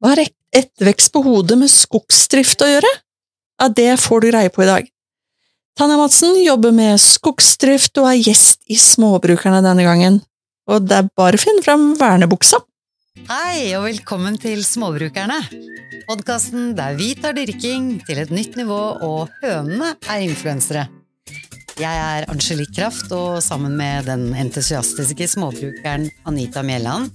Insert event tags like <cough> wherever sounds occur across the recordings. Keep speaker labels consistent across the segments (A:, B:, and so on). A: Hva har ek- ettervekst på hodet med skogsdrift å gjøre? Ja, det får du greie på i dag. Tanja Madsen jobber med skogsdrift og er gjest i Småbrukerne denne gangen. Og det er bare å finne fram vernebuksa.
B: Hei og velkommen til Småbrukerne. Podkasten der vi tar dyrking til et nytt nivå og hønene er influensere. Jeg er Angelique Kraft, og sammen med den entusiastiske småbrukeren Anita Mjelland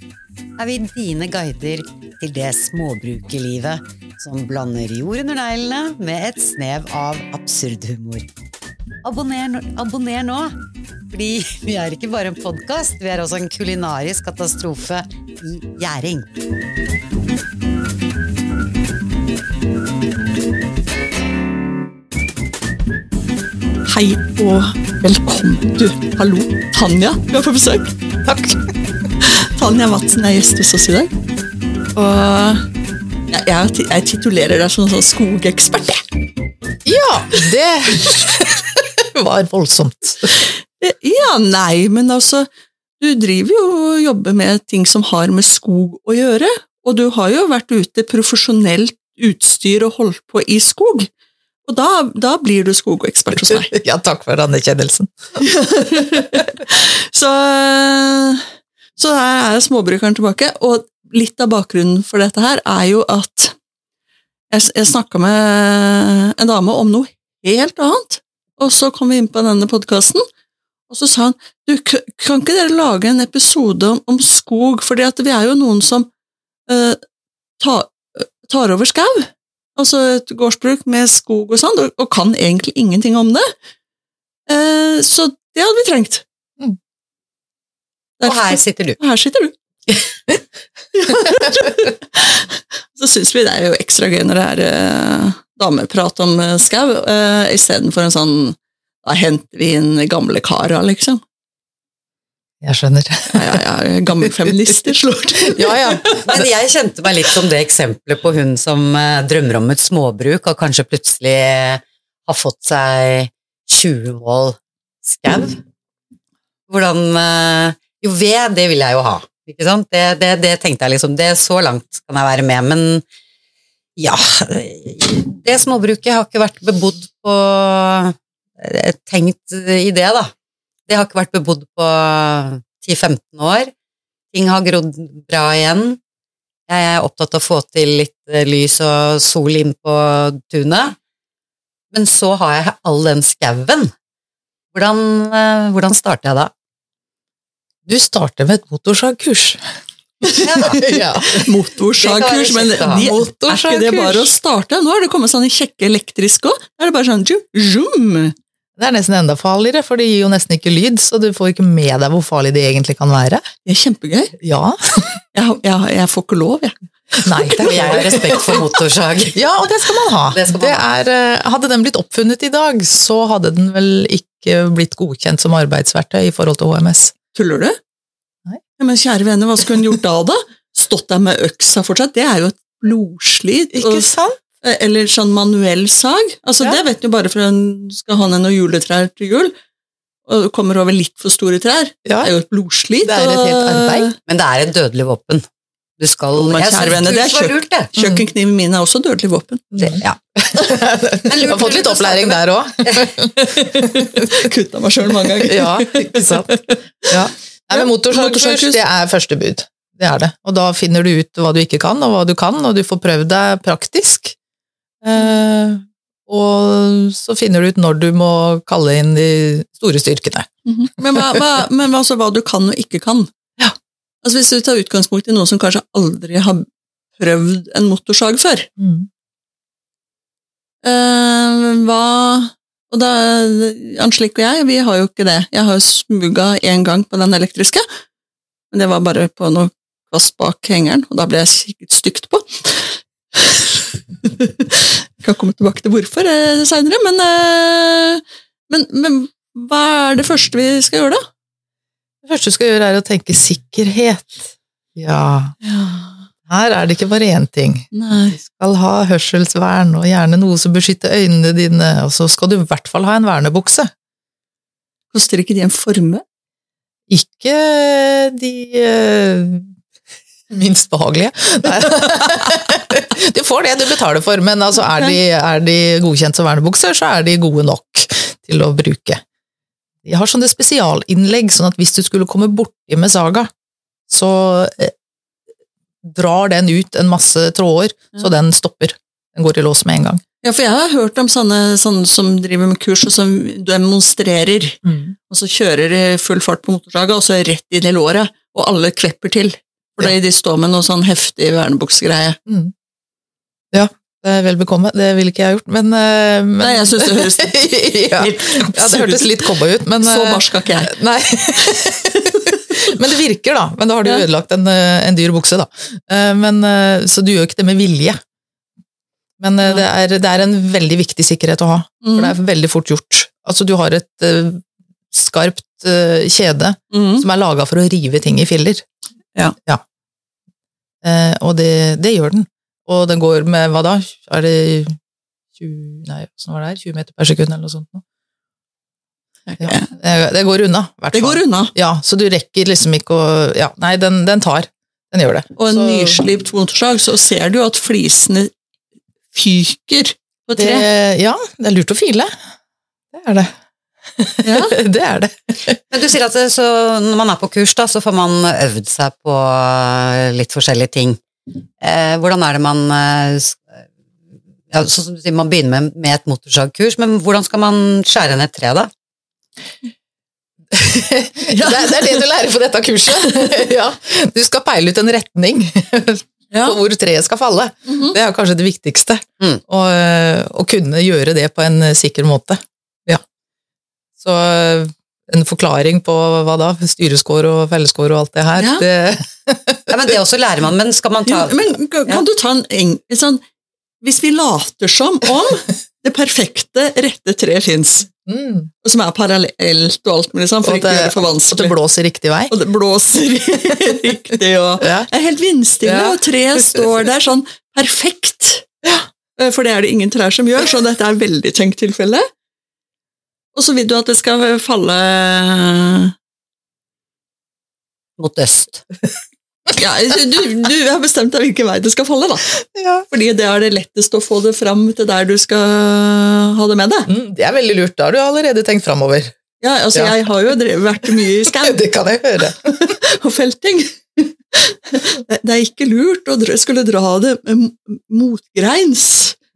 B: er vi dine guider til det småbrukerlivet som blander jord under neglene med et snev av absurd humor. Abonner, nå- abonner nå! Fordi vi er ikke bare en podkast, vi er også en kulinarisk katastrofe i gjæring.
A: Hei og velkommen. Du, hallo. Tanja, du er på besøk. Takk. Tanja Madsen er gjest hos oss i dag. Og jeg, jeg, ti- jeg titulerer deg som en sånn skogekspert. jeg.
C: Ja, det <laughs> var voldsomt.
A: Eh, Ja, nei, men altså Du driver jo og jobber med ting som har med skog å gjøre. Og du har jo vært ute profesjonelt utstyr og holdt på i skog. Og da, da blir du skogekspert hos
C: <laughs>
A: meg.
C: Ja, takk for anerkjennelsen.
A: Så, eh, så her er småbrukeren tilbake, og litt av bakgrunnen for dette her er jo at jeg, jeg snakka med en dame om noe helt annet, og så kom vi inn på denne podkasten, og så sa han du, k- kan ikke dere lage en episode om, om skog, fordi at vi er jo noen som eh, tar, tar over skau, altså et gårdsbruk med skog og sånn, og, og kan egentlig ingenting om det. Eh, så det hadde vi trengt.
C: Mm.
B: Og her
A: Derfor,
B: sitter du.
A: her sitter du. <laughs> så syns vi det er jo ekstra gøy når det er eh, dameprat om eh, skau, eh, istedenfor en sånn da henter vi inn gamle kara, liksom.
C: Jeg skjønner.
A: Ja, ja, ja, gamle feminister slår til.
B: Ja, ja. Men jeg kjente meg litt som det eksempelet på hun som eh, drømmer om et småbruk, og kanskje plutselig eh, har fått seg 20 mål skau. Hvordan eh, Jo, ved, det vil jeg jo ha. Ikke sant? Det, det, det tenkte jeg liksom. Det er så langt kan jeg være med, men ja Det småbruket har ikke vært bebodd på eh, Tenkt i det, da. Det har ikke vært bebodd på 10-15 år. Ting har grodd bra igjen. Jeg er opptatt av å få til litt eh, lys og sol inn på tunet. Men så har jeg all den skauen. Hvordan, eh, hvordan starter jeg da?
C: Du starter med et motorsagkurs.
B: <laughs> Ja, da.
C: Ja.
A: <laughs> Motorsagkurs, men de,
B: Det kan
A: er
B: være
C: kjekt, da.
A: ikke det bare å starte? Nå har det kommet sånne kjekke elektriske òg. Da er det bare sånn zoom, zoom.
C: Det er nesten enda farligere, for det gir jo nesten ikke lyd, så du får ikke med deg hvor farlig det egentlig kan være.
A: Det er kjempegøy.
C: Ja.
A: Jeg, har- jeg, har- jeg får ikke lov, jeg.
C: Nei, det
B: Jeg har respekt for motorsag.
C: <laughs> Ja, og det skal man ha.
B: Det skal man
C: Det er, eh, hadde den blitt oppfunnet i dag, så hadde den vel ikke blitt godkjent som arbeidsverktøy i forhold til HMS.
A: Tuller du?
C: Nei.
A: Ja, men kjære venner, hva skulle hun gjort da, da? Stått der med øksa fortsatt? Det er jo et blodslit. og-
C: sant?
A: Eller sånn manuell sag. Altså,
C: Ja.
A: Det vet du bare for hun skal ha ned noen juletrær til jul, og kommer over litt for store trær. Det
C: Ja.
A: er jo et blodslit.
C: Det er et helt arbeid.
B: Men det er et dødelig våpen. Du skal
A: men
B: Jeg
A: kjære
B: synes
A: venne, det er
B: kurs var
A: kjøpt.
B: lurt, det.
A: og eh, Kjøkkenkniven min er også dødelig våpen.
B: Det- Ja.
C: <laughs> Du har fått litt opplæring der òg.
A: Kutta meg sjøl mange ganger.
C: <laughs> Ja, ikke sant. Ja. Nei, men motorsagkurs,
A: motorsagkurs.
C: det er første bud. Det er det. Og da finner du ut hva du ikke kan, og hva du kan, og du får prøvd deg praktisk. Eh, og så finner du ut når du må kalle inn de store styrkene.
A: Mhm. Men, hva, hva, men altså hva du kan og ikke kan.
C: Ja.
A: Altså Hvis du tar utgangspunkt i noen som kanskje aldri har prøvd en motorsag før
C: Mm.
A: eh, Hva Og da Angelique og jeg, vi har jo ikke det. Jeg har jo smuga én gang på den elektriske, men det var bare på noe kvass bak hengeren, og da ble jeg sikkert stygt på. Jeg kan komme tilbake til hvorfor eh, seinere, men, eh, men, men hva er det første vi skal gjøre, da?
C: Det første du skal gjøre, er å tenke sikkerhet. Ja, her er det ikke bare én ting.
A: Nei.
C: Du skal ha hørselsvern, og gjerne noe som beskytter øynene dine, og så skal du i hvert fall ha en vernebukse.
A: Koster ikke de en formue?
C: Ikke de eh, Minst behagelige. Nei. <laughs> Du får det du betaler for, men altså er, de, er de godkjent som vernebukser, så er de gode nok til å bruke. De har sånne spesialinnlegg, sånn at hvis du skulle komme borti med Saga, så eh, drar den ut en masse tråder,
A: Ja.
C: så den stopper. Den går i lås med en gang.
A: Ja, for jeg har hørt om sånne, sånne som driver med kurs og som demonstrerer, og så kjører de full fart på motorsaga, og så rett inn i låret, og alle kvepper til. Fordi de står med noe sånn heftig vernebuksgreie.
C: Mm. Ja, det er vel bekomme. Det ville ikke jeg gjort, men, eh, men
A: Nei, jeg synes det
C: <laughs>
A: høres
C: ja. ja, det hørtes litt cowboy ut, men
A: Så
C: eh,
A: barsk er ikke jeg.
C: Nei. <laughs> men det virker, da. Men da har du
A: Ja.
C: ødelagt en, eh, en dyr bukse, da. Eh, Men, eh, så du gjør jo ikke det med vilje. Men eh, det er, det er en veldig viktig sikkerhet å ha, for det
A: Mm.
C: er veldig fort gjort. Altså, du har et eh, skarpt eh, kjede
A: Mm.
C: som er laga for å rive ting i filler.
A: Ja.
C: Eh, og det, det gjør den. Og den går med, hva da, er det 20, nei, hvordan var det her, 20 meter per sekund eller noe sånt? nå? Ja.
A: Ja.
C: Eh, Det går unna, i hvert
A: Det går unna.
C: ja, så du rekker liksom ikke å Ja, nei, den, den tar. Den gjør det.
A: Og en
C: Så-
A: nyslipt motorsag, så ser du jo at flisene fyker på
C: Det,
A: tre.
C: ja, det er lurt å file. Det er det.
A: Ja.
C: <laughs> det er det.
B: Men du sier at det, så når man er på kurs, da, så får man øvd seg på litt forskjellige ting. Eh, hvordan er det man eh, s- ja, Sånn som du sier, man begynner med, med et motorsagkurs, men hvordan skal man skjære ned et tre, da?
A: <laughs>
C: Det er, det er det du lærer på dette kurset. ja. Du skal peile ut en retning
A: Ja.
C: på hvor treet skal falle.
A: Mhm.
C: Det er kanskje det viktigste.
B: Mm.
C: Å, eh, å kunne gjøre det på en eh, sikker måte. Ja. Så eh, en forklaring på hva da? Styreskår og felleskår og alt det her.
A: Ja.
C: Det,
B: Ja, men Det også lærer man, men skal man ta
A: Jo, Men kan
B: Ja.
A: kan du ta en eng... Sånn, hvis vi later som
C: <laughs>
A: om det perfekte rette treet fins,
C: mm,
A: og som er parallelt og alt mulig sånn, for
C: Og
A: ikke å
C: det-
A: gjøre det for
C: at det
A: vanskelig,
C: blåser riktig vei.
A: <laughs> og det blåser riktig og
C: Ja.
A: Det er helt vindstille,
C: Ja.
A: og treet står der sånn perfekt. Eh, For det er det ingen trær som gjør, så dette er veldig tenkt tilfelle. Og så vil du at det skal falle
B: mot øst?
A: ja, du, du har bestemt deg hvilken vei det skal falle, da.
C: Ja.
A: Fordi det er det lettest å få det fram til der du skal ha det med deg.
C: Mm, det er veldig lurt. Da har du allerede tenkt framover.
A: Ja, altså
C: Ja.
A: Jeg har jo drevet, vært mye i skau
C: <laughs> Det kan jeg høre.
A: og felting. Det det er ikke lurt å dra- skulle dra det m- motgreins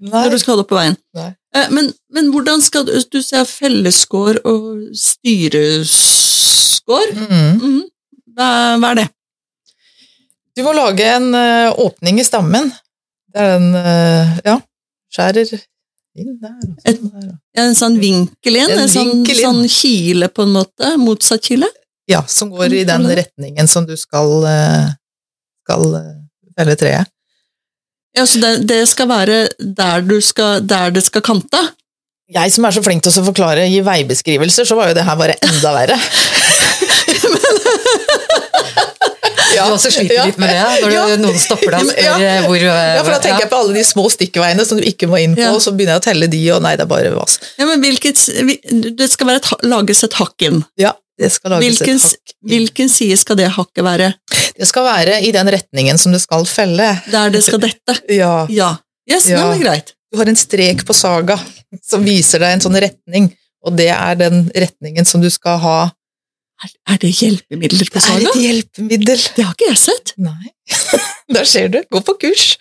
A: når du skal ha det på veien.
C: Nei.
A: Eh, Men, men hvordan skal du Du ser fellesskår og styreskår.
C: Mm.
A: Mhm. Hva, hva er det?
C: Du må lage en ø, åpning i stammen. Det er den ø, Ja, skjærer inn der. og
A: Et-
C: sånn der.
A: En sånn vinkel inn? En,
C: En
A: sånn,
C: vinkel inn.
A: sånn kile, på en måte? Motsatt kile?
C: Ja, som går i den retningen som du skal, ø, skal ø, felle treet.
A: Ja, så det, det skal være der, du skal, der det skal kante?
C: Jeg som er så flink til å forklare gi veibeskrivelser, så var jo det her bare enda verre.
B: <laughs> Du også sliter litt med det når du,
C: Ja.
B: noen stopper deg og
C: Ja.
B: spør eh, hvor eh,
C: Ja, for da tenker jeg på alle de små stikkveiene som du ikke må inn på,
A: Ja.
C: og så begynner jeg å telle de, og nei, det er bare vas.
A: Ja, men hvilket, s- vi- det skal være et, ha- lages et hakk inn.
C: Ja, det skal lages
A: Hvilken,
C: et
A: s- hvilken side skal det hakket være?
C: Det skal være i den retningen som det skal felle.
A: Der det skal dette?
C: Ja.
A: Ja. Yes,
C: Ja.
A: den er greit.
C: Du har en strek på saga som viser deg en sånn retning, og det er den retningen som du skal ha.
A: Er, er det hjelpemidler på saga?
C: et hjelpemiddel.
A: Det har ikke jeg sett.
C: Nei. <laughs> Der ser du. Gå på <laughs> kurs.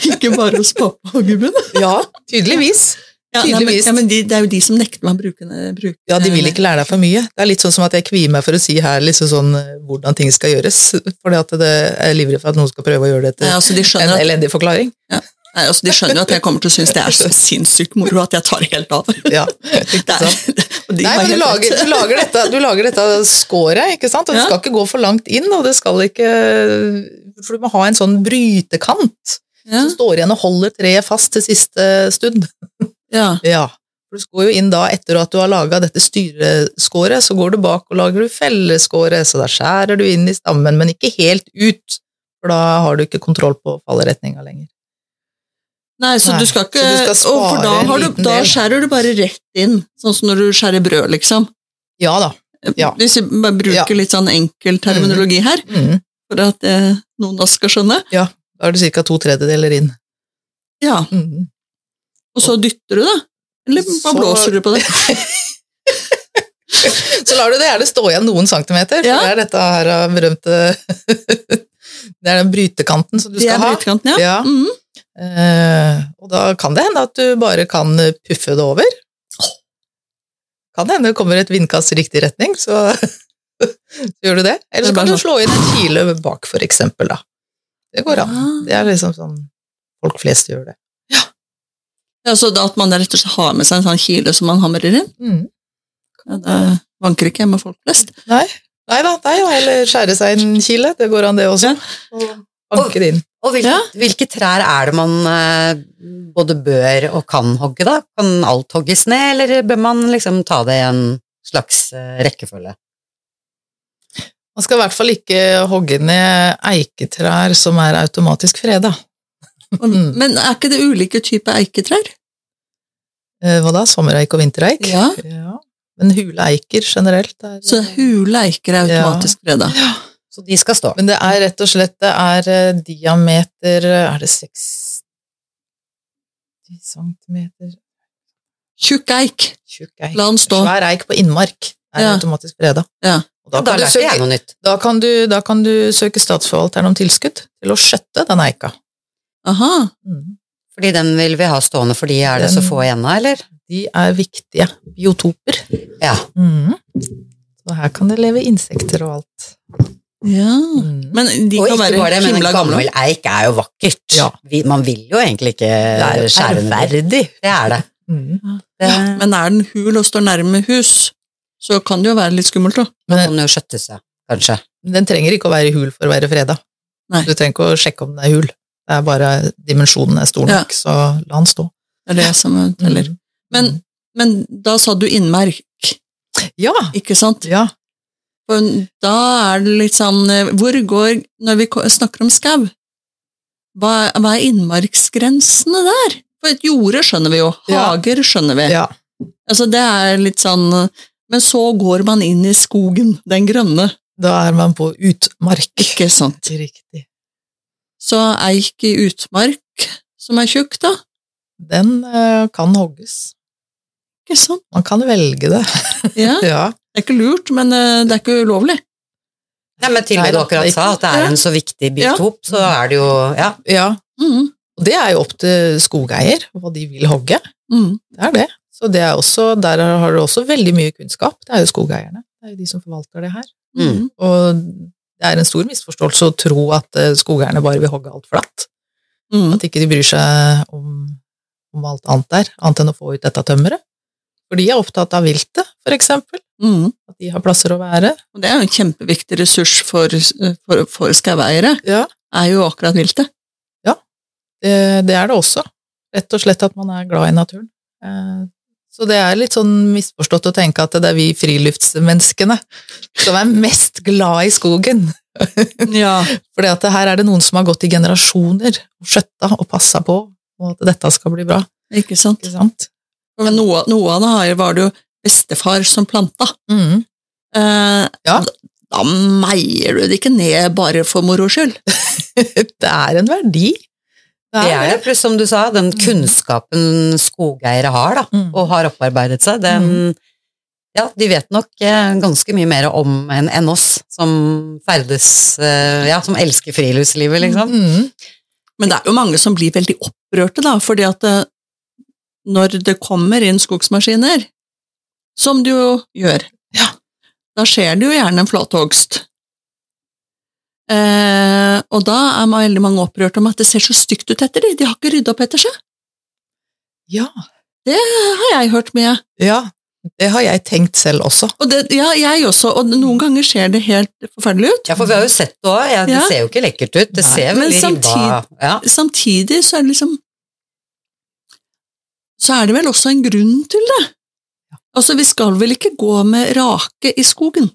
A: Ikke bare hos pappa og gubben.
C: Ja, tydeligvis.
A: Ja, nei, men,
C: Tydeligvis.
A: ja, men de, det er jo de som nekter meg å bruke det. bruke-
C: Ja, de vil ikke lære deg for mye. Det er litt sånn som at jeg kvier meg for å si her liksom sånn eh, hvordan ting skal gjøres, fordi at det er livredd for at noen skal prøve å gjøre det
A: Nei,
C: etter
A: altså, de,
C: en
A: skjønner at,
C: elendig forklaring.
A: nei, altså, de skjønner jo at jeg kommer til å synes det er så sinnssykt moro at jeg tar helt
C: <laughs>
A: av.
C: Ja,
A: Det
C: ikke
A: er,
C: sant?
A: <laughs> og de
C: Nei,
A: har
C: men du
A: helt
C: lager,
A: rett.
C: du lager dette, du lager dette skåret, ikke sant? Og det
A: Ja.
C: skal ikke gå for langt inn, og det skal ikke For du må ha en sånn brytekant
A: Ja,
C: som står igjen og holder treet fast til siste stund.
A: ja.
C: Ja. For du går jo inn da, etter at du har laga dette styreskåret, så går du bak og lager du felleskåret, så da skjærer du inn i stammen, men ikke helt ut. For da har du ikke kontroll på fallretninga lenger.
A: Nei, så
C: Nei,
A: du skal ikke
C: så du skal
A: og for da,
C: spare en
A: har du,
C: liten
A: da
C: del.
A: skjærer du bare rett inn, sånn som når du skjærer brød, liksom.
C: Ja da. Ja.
A: Hvis vi bare
C: Ja. Mhm.
A: bruker litt sånn enkel terminologi her.
C: Mm.
A: for at eh, noen av oss skal skjønne.
C: Da er det ca. to tredjedeler inn.
A: Ja,
C: Mm.
A: Og så dytter du, da? Eller bare
C: Så-
A: blåser du på det?
C: Så lar du det gjerne stå igjen noen centimeter, for
A: Ja.
C: det er dette her av berømte <laughs> Det er den brytekanten som du
A: Det er
C: skal ha.
A: brytekanten, ja.
C: Ja.
A: Mhm.
C: Eh, og da kan det hende at du bare kan eh, puffe det over. Kan det hende det kommer et vindkast i riktig retning, så, <laughs> så gjør du det. Eller
A: Det er
C: så
A: bare
C: kan du
A: sånn.
C: slå inn en kile bak, for eksempel, da. Det går an.
A: Ah.
C: Det er liksom sånn folk flest gjør det.
A: Ja, så da at man rett og slett har med seg en sånn kile som man hamrer inn, ja, det vanker ikke hjemme folk flest.
C: Nei da, nei, da, eller skjære seg en kile. Det går an, det også. Og banke det inn.
B: Og hvilke,
A: Ja.
B: hvilke trær er det man eh, både bør og kan hogge, da? Kan alt hogges ned, eller bør man liksom ta det i en slags eh, rekkefølge?
C: Man skal i hvert fall ikke hogge ned eiketrær som er automatisk freda. Mm.
A: Men er ikke det ulike typer eiketrær?
C: Eh, Hva da? Sommereik og vintereik?
A: Ja.
C: Ja. Men hule eiker generelt er
A: Så hule eiker er automatisk freda.
B: Så de skal stå.
C: Men det er rett og slett det er eh, diameter eh, Er det 60 centimeter
A: Tjukk eik.
C: tjukk eik?
A: La den stå.
C: Svær eik på innmark er
A: Ja.
C: automatisk freda.
A: Ja.
C: Og da,
B: Da
C: kan du
B: lærte jeg
C: søke,
B: noe nytt.
C: da, kan du, da kan du søke statsforvalteren om tilskudd til å skjøtte den eika.
A: Aha.
C: Mm.
B: Fordi den vil vi ha stående, fordi er det så
C: Den-
B: få igjen av, eller?
C: De er viktige biotoper.
B: Ja.
C: Mm. Så her kan det leve insekter og alt.
A: Ja.
C: Mm.
A: Men de
B: og
A: kan
B: ikke bare
A: være
B: det, men en
A: himla gamle.
B: gammel eik er jo vakkert.
C: Ja.
B: Vi, man vil jo egentlig ikke
C: jo
B: skjære den ned. Det er det.
C: Mm.
B: det
A: Men er den hul og står nærme hus, så kan det jo være litt skummelt, da.
B: man kan jo skjøtte seg, kanskje.
C: Den trenger ikke å være hul for å være freda.
A: Nei.
C: Du trenger ikke å sjekke om den er hul. Det er bare dimensjonen er stor
A: Ja.
C: nok, så la den stå.
A: Det er det som teller.
C: Mm.
A: Men, men da sa du innmerk,
C: ja,
A: ikke sant?
C: ja.
A: For da er det litt sånn eh, Hvor går Når vi ko- snakker om skau, hva, er- hva er innmarksgrensene der? For et jorde skjønner vi jo,
C: Ja.
A: hager skjønner vi.
C: Ja.
A: Altså det er litt sånn eh, Men så går man inn i skogen, den grønne,
C: Da er man på utmark.
A: ikke sant?
C: Riktig.
A: Så eik i utmark, som er tjukk, da.
C: Den eh, kan hogges.
A: Ikke sant?
C: Man kan velge det. <laughs>
A: Ja,
C: Ja.
A: det er ikke lurt, men eh, det er ikke ulovlig.
B: Nei, men til og
C: Nei,
B: med du
C: da,
B: akkurat
C: det er
B: sa at det er
A: Ja.
B: en så viktig biotop, så er det jo Ja.
C: ja.
A: Mhm.
C: Og det er jo opp til skogeier, hva de vil hogge.
A: Mhm.
C: Det er det. Så det er også, der har du også veldig mye kunnskap. Det er jo skogeierne. Det er jo de som forvalter det her. Mm.
A: Mhm.
C: Og det er en stor misforståelse å tro at eh, skogeierne bare vil hogge alt flatt.
A: Mhm.
C: At ikke de bryr seg om, om alt annet der, annet enn å få ut dette tømmeret. For de er opptatt av viltet, for eksempel.
A: Mhm.
C: At de har plasser å være.
A: Og det er jo en kjempeviktig ressurs for, eh, for, for skaueiere,
C: Ja.
A: er jo akkurat viltet.
C: Det, det er det også. Rett og slett at man er glad i naturen. Eh, Så det er litt sånn misforstått å tenke at det er vi friluftsmenneskene som er mest glad i skogen. <laughs>
A: Ja.
C: For her er det noen som har gått i generasjoner og skjøtta og passa på, og at dette skal bli bra.
A: Ikke sant?
C: Ikke sant?
A: Men noe, noe av det her var det jo bestefar som planta.
C: Mm. <laughs>
A: Eh,
C: Ja.
A: Da meier du det ikke ned bare for moro skyld.
C: det er en verdi.
B: Det er det. Pluss, som du sa, den kunnskapen skogeiere har, da,
C: Mm.
B: og har opparbeidet seg, den Ja, de vet nok eh, ganske mye mer om en enn oss som ferdes eh, Ja, som elsker friluftslivet, liksom.
C: Mm.
A: Men det er jo mange som blir veldig opprørte, da, fordi at eh, når det kommer inn skogsmaskiner, som det jo gjør,
C: Ja.
A: da skjer det jo gjerne en flathogst. Eh, og da er man veldig mange opprørt om at det ser så stygt ut etter de, de har ikke rydda opp etter seg, eh,
C: Ja.
A: har jeg hørt mye.
C: ja. Det har jeg tenkt selv også.
A: Og det, ja, jeg også, og noen ganger ser det helt forferdelig ut.
B: Ja, for vi har jo sett det òg. Ja, det
A: Ja.
B: ser jo ikke lekkert ut. Det
C: Nei,
B: ser
A: men
B: veldig ribba
A: samtid-
B: ja.
A: Samtidig så er det liksom Så er det vel også en grunn til det. Altså, vi skal vel ikke gå med rake i skogen?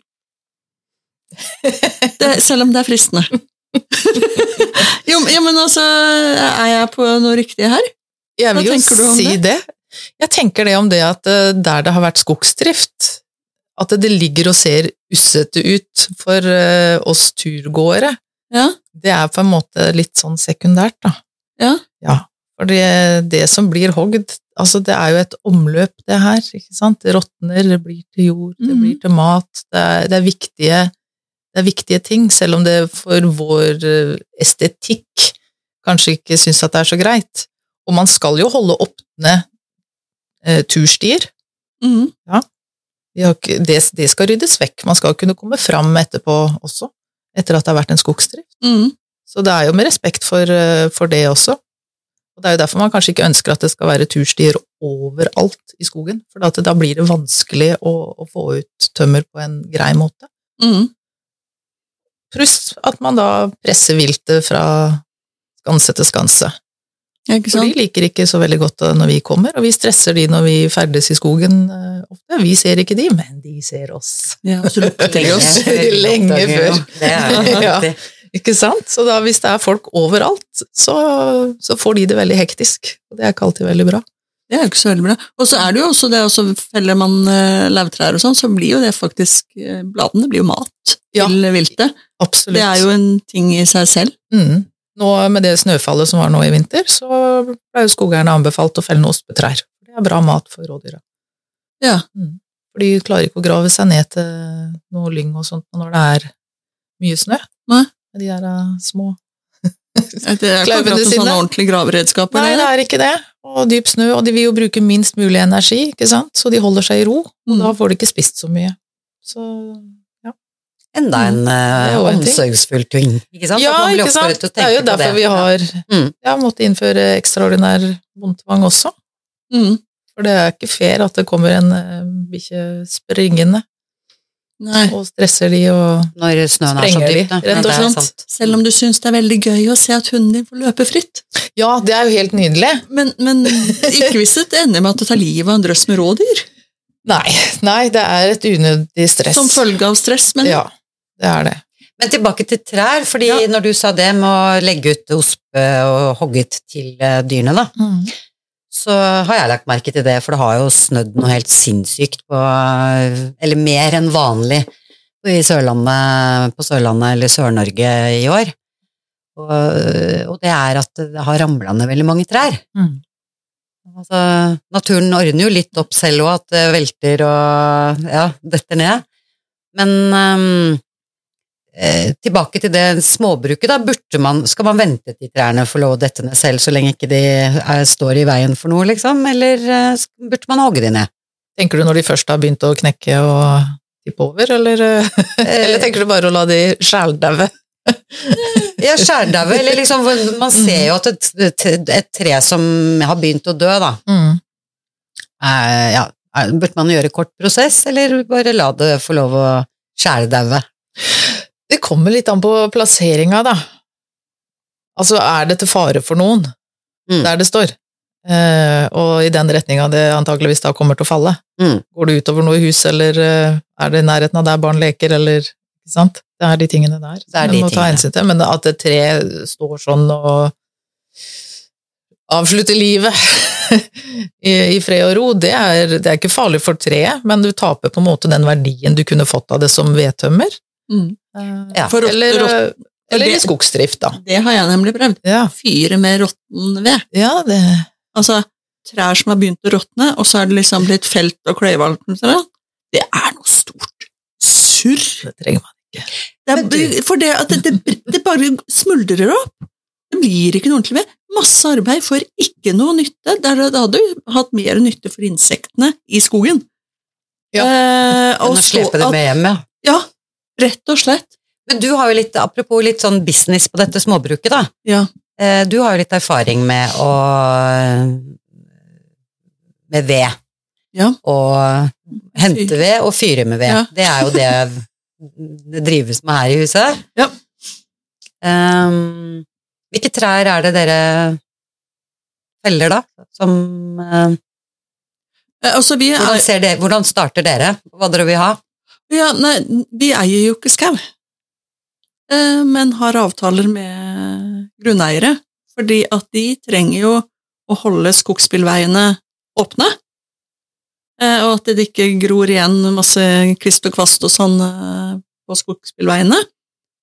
A: Det, selv om det er fristende. jo, men- ja, men altså, er jeg på noe riktig her?
C: Jeg
A: Hva
C: vil jo
A: tenker du om
C: si det? Jeg tenker det om det at eh, der det har vært skogsdrift, at det ligger og ser ussete ut for eh, oss turgåere.
A: Ja.
C: Det er på en måte litt sånn sekundært, da.
A: Ja.
C: For det, det som blir hogd, altså det er jo et omløp, det her. ikke sant? Det råtner, det blir til jord, det
A: Mhm.
C: blir til mat. Det er, det, er viktige, det er viktige ting, selv om det for vår eh, estetikk kanskje ikke syns at det er så greit. Og man skal jo holde åpne eh, turstier.
A: Mhm.
C: De har ikke, det, det skal ryddes vekk. Man skal kunne komme fram etterpå også, etter at det har vært en skogsdrift.
A: Mhm.
C: Så det er jo med respekt for, eh, for det også. Og det er jo derfor man kanskje ikke ønsker at det skal være turstier overalt i skogen, for at da blir det vanskelig å, å få ut tømmer på en grei måte.
A: Mhm.
C: Pluss at man da presser viltet fra skanse til skanse.
A: Ikke
C: For de
A: sant?
C: liker ikke så veldig godt eh, når vi kommer, og vi stresser de når vi ferdes i skogen eh, ofte. Vi ser ikke de, men de ser oss. <laughs>
A: Ja, og så lukter de oss.
C: Lenge før.
B: Det er
C: <laughs>
B: jo
C: Ja.
B: riktig.
C: Ikke sant? Så da hvis det er folk overalt, så, så får de det veldig hektisk. Og det er ikke alltid veldig bra.
A: Det er jo ikke så veldig bra. Og så er det jo også det, også feller man eh, lauvtrær og sånn, så blir jo det faktisk eh, Bladene blir jo mat
C: Ja.
A: til viltet.
C: Absolutt.
A: Det er jo en ting i seg selv.
C: Mm. Nå med det snøfallet som var nå i vinter, så ble jo skogeierne anbefalt å felle noen ospetrær. Det er bra mat for rådyra.
A: Ja.
C: Mm. For de klarer ikke å grave seg ned til noe lyng og sånt når det er mye snø.
A: Nei.
C: De der eh, små
A: Det er ikke
C: Klauvene
A: akkurat sånn noen
C: sine.
A: sånne ordentlige graveredskaper.
C: Nei, det
A: det.
C: er ikke det. Og dyp snø, og de vil jo bruke minst mulig energi, ikke sant? så de holder seg i ro. Og
A: Mm.
C: da får de ikke spist så mye. Så
B: Enda en eh,
C: Mm. er jo en ting.
B: omsorgsfull ting. Ikke sant?
C: Ja,
B: At man blir
C: ikke sant?
B: oppfordret til å
C: Det er jo
B: tenke på
C: derfor vi har
B: Mm.
C: ja, måttet innføre ekstraordinær bondtvang også.
A: Mm.
C: For det er ikke fair at det kommer en eh, bikkje springende
A: Nei.
C: og stresser de og
B: Når snøen er så
C: Sprenger de,
B: dyp, da.
C: rett og
B: Det er
C: slett.
B: sant.
A: Selv om du syns det er veldig gøy å se at hunden din får løpe fritt.
C: Ja, det er jo helt nydelig.
A: Men, men ikke hvis det ender med at du tar livet av en drøss med rådyr.
C: Nei, nei, det er et unødig stress.
A: Som følge av stress, men
C: Ja, det er det.
B: Men tilbake til trær, fordi
A: Ja.
B: når du sa det med å legge ut ospe og hogget til eh, dyrene, da,
C: Mm,
B: så har jeg lagt merke til det, for det har jo snødd noe helt sinnssykt på Eller mer enn vanlig i Sørlandet, på Sørlandet eller Sør-Norge i år. Og, og det er at det har ramla ned veldig mange trær.
C: Mm.
B: Altså, naturen ordner jo litt opp selv òg, at det velter og ja, detter ned. Men ehm, eh, tilbake til det småbruket, da. Burde man, skal man vente til trærne får lov å dette ned selv, så lenge ikke de er, står i veien for noe, liksom? Eller eh, burde man hogge de ned?
C: Tenker du når de først har begynt å knekke og tippe over, eller, eh, eller tenker du bare å la de skjældaue?
B: Ja, skjærdaue, eller liksom hvor- Man ser jo at et, et, et tre som har begynt å dø, da
C: Mm.
B: eh, ja, eh, Burde man gjøre kort prosess, eller bare la det få lov å skjærdaue?
C: Det kommer litt an på plasseringa, da. Altså, er det til fare for noen?
B: Mm.
C: Der det står. Eh, og i den retninga det antakeligvis da kommer til å falle.
B: Mm.
C: Går det utover noe i huset, eller eh, er det i nærheten av der barn leker, eller ikke sant? Det er de tingene der
B: Det er
C: som
B: de
C: en må ta
B: tingene.
C: hensyn til. Men at et tre står sånn og avslutter livet <laughs> i, i fred og ro, det er, det er ikke farlig for treet, men du taper på en måte den verdien du kunne fått av det som vedtømmer.
A: Mm.
C: Eh,
B: Ja.
A: For rotter
C: eller,
A: og-
C: eh, eller i
A: det-
C: skogsdrift, da.
A: Det har jeg nemlig prøvd.
C: Ja,
A: Fyre med råtten ved.
C: ja det
A: Altså, trær som har begynt å råtne, og så er det liksom blitt felt og kløyvalgt. og sånn. Det er noe stort surr.
C: det trenger man.
A: Det
B: Men du-
A: er, for det at det, det, det bare smuldrer opp. Det blir ikke noe ordentlig ved. Masse arbeid for ikke noe nytte. Der da hadde du hatt mer nytte for insektene i skogen.
C: Ja.
A: Eh,
B: Enn
A: og
B: å
A: så
B: slepe det
A: at,
B: med hjem, ja.
A: ja, rett og slett.
B: Men du har jo litt, apropos litt sånn business på dette småbruket, da.
A: Ja.
B: Eh, Du har jo litt erfaring med å Med ved.
A: Ja.
B: Og hente ved og fyre med ved.
A: Ja.
B: Det er jo det det drives med her i huset.
A: Ja.
B: Ehm, hvilke trær er det dere feller, da? Som eh,
A: Eh, altså, vi, er,
B: hvordan, ser det, hvordan starter dere? Hva dere vil ha?
A: ja, nei, vi eier jo ikke skau, eh, men har avtaler med grunneiere. Fordi at de trenger jo å holde skogsbilveiene åpne. Eh, og at det ikke gror igjen masse kvist og kvast og sånn eh, på skogsbilveiene.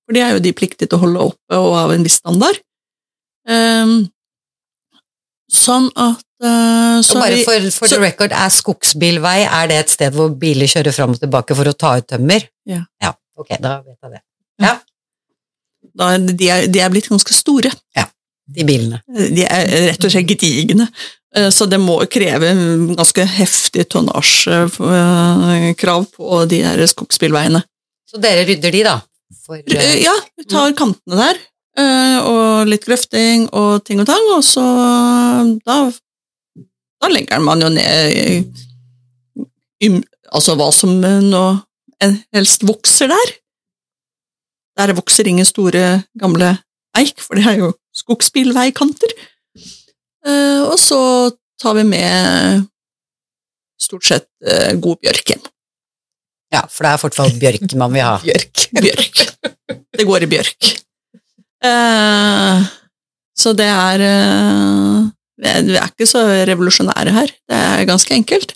A: For de er jo de pliktige til å holde oppe og av en viss standard. Ehm, sånn at eh, så
B: Og
A: er
B: bare
A: vi-
B: for, for the
A: så-
B: record, er skogsbilvei er det et sted hvor biler kjører fram og tilbake for å ta ut tømmer?
A: Ja.
B: Ok, da vet jeg det.
A: da, er- de, er, de er blitt ganske store.
B: De bilene.
A: De er rett og slett gedigne. Eh, Så det må kreve en ganske heftig tonnasjekrav på de her skogsbilveiene.
B: Så dere rydder de, da? For,
A: R-
B: eh,
A: Ja, vi tar kantene der, eh, og litt grøfting og ting og tang, og så da, da legger man jo ned eh, ym- altså hva som eh, nå en- helst vokser der. Der vokser ingen store, gamle eik, for det er jo skogsbilveikanter. Eh, Og så tar vi med stort sett eh, god bjørk hjem.
B: ja, for det er fortsatt bjørk man vil ha.
A: Bjørk. Bjørk. Det går i bjørk. Eh, så det er eh, Vi er vi er ikke så revolusjonære her. Det er ganske enkelt.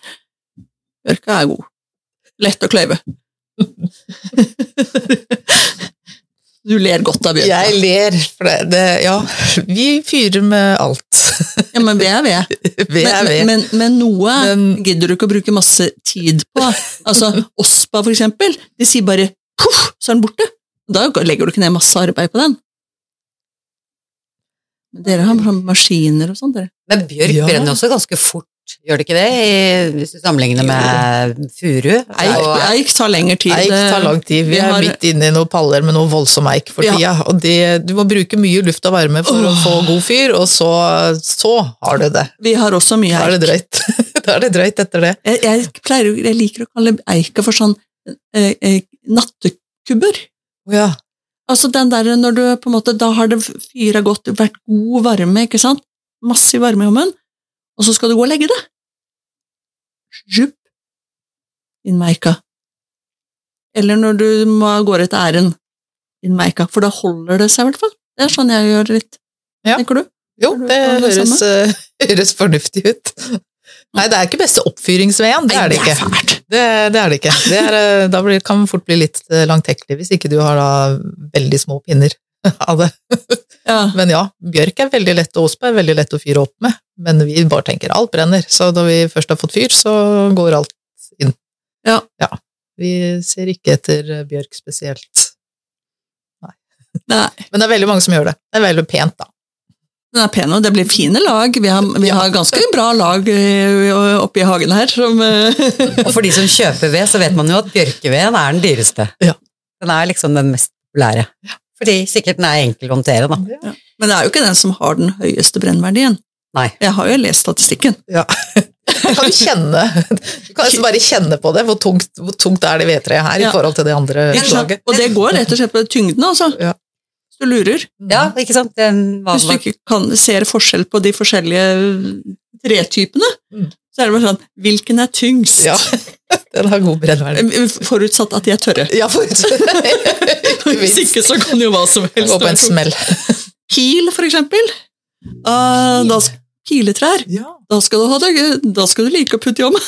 A: Bjørka er god. Lett å
C: <laughs>
A: kløyve. Du ler godt av bjørka.
C: Jeg ler, for det, det Ja, vi fyrer med alt. <laughs>
A: Ja, men vi er ved.
C: Vi er
A: Men,
C: ved.
A: men, men noe
C: Men-
A: gidder du ikke å bruke masse tid på. Altså,
C: <laughs>
A: Ospa, for eksempel, de sier bare poff, så er den borte. Da legger du ikke ned masse arbeid på den. Men dere har sånn maskiner og sånn, dere.
B: Men bjørk
C: Ja.
B: brenner også ganske fort, gjør det ikke det? I, hvis du sammenligner med furu?
A: Eik,
B: og-
A: eik tar lengre tid. Eh,
C: Eik tar lang tid. Vi
A: vi
C: er
A: har-
C: midt inne i noen paller med noe voldsom eik for
A: Ja.
C: tida. Og det, du må bruke mye luft og varme for å
A: Åh.
C: få god fyr, og så, så har du det.
A: Vi har også mye
C: Da
A: eik.
C: er det drøyt. <laughs> Da er det drøyt etter det.
A: Jeg, jeg, pleier, jo- jeg liker å kalle eika for sånn eh, eh, nattekubber.
C: Ja.
A: Altså den der når du på en måte, da har det fyra godt, vært god varme, ikke sant? Massiv varme i ommen, og så skal du gå og legge det. Jupp. Inn med eika. Eller når du må av gårde til æren. Inn med eika, for da holder det seg i hvert fall. Det er sånn jeg gjør det litt.
C: Ja.
A: Tenker du?
C: Jo,
A: Er du-
C: det
A: er du Mm-hmm. det
C: høres, eh, <laughs> høres fornuftig ut. Nei, det er ikke beste oppfyringsveien, det
A: Nei,
C: er det ikke.
A: fælt.
C: Det, det er det ikke. Det er, eh, da blir, kan det fort bli litt eh, langtekkelig hvis ikke du har da veldig små pinner <laughs> av det.
A: Ja.
C: Men ja, bjørk er veldig lett, og ospe er veldig lett å fyre opp med. Men vi bare tenker alt brenner, så når vi først har fått fyr, så går alt inn.
A: Ja.
C: Vi ser ikke etter eh, bjørk spesielt.
A: Nei,
C: Men det er veldig mange som gjør det. Det er veldig pent, da.
A: den er pen, og det blir fine lag. Vi har, vi har ganske bra lag eh, oppe i hagen her, som eh,
B: Og for de som kjøper ved, så vet man jo at bjørkeveden er den dyreste.
C: Ja.
B: Den er liksom den mest populære. Fordi sikkert den er enkel å håndtere,
A: Mm.
B: da.
A: Men det er jo ikke den som har den høyeste brennverdien.
B: Nei.
A: Jeg har jo lest statistikken.
C: Du kan jo kjenne <laughs> Du kan nesten bare kjenne på det, hvor tungt, hvor tungt er det vedtreet her
A: Ja.
C: i forhold til det andre
A: Ikke sant?
C: slaget.
A: Og det går rett og slett på tyngden, altså.
C: Ja.
A: Hvis du lurer.
B: Ja, ikke sant? Den var,
A: Hvis du ikke kan, ser forskjell på de forskjellige tretypene,
C: Mm.
A: så er det bare sånn Hvilken er tyngst?
C: Ja, <laughs> den har god brennverdi.
A: <laughs> Forutsatt at de er tørre.
C: <laughs> Ja, for Ikke
A: Hvis
C: minst.
A: ikke, så kan jo hva som helst
C: Gå på en
A: være.
C: smell.
A: Pil, for eksempel. Ah, da, piletrær.
C: Ja.
A: Da skal, du ha det, gøy. da skal du like å putte i om.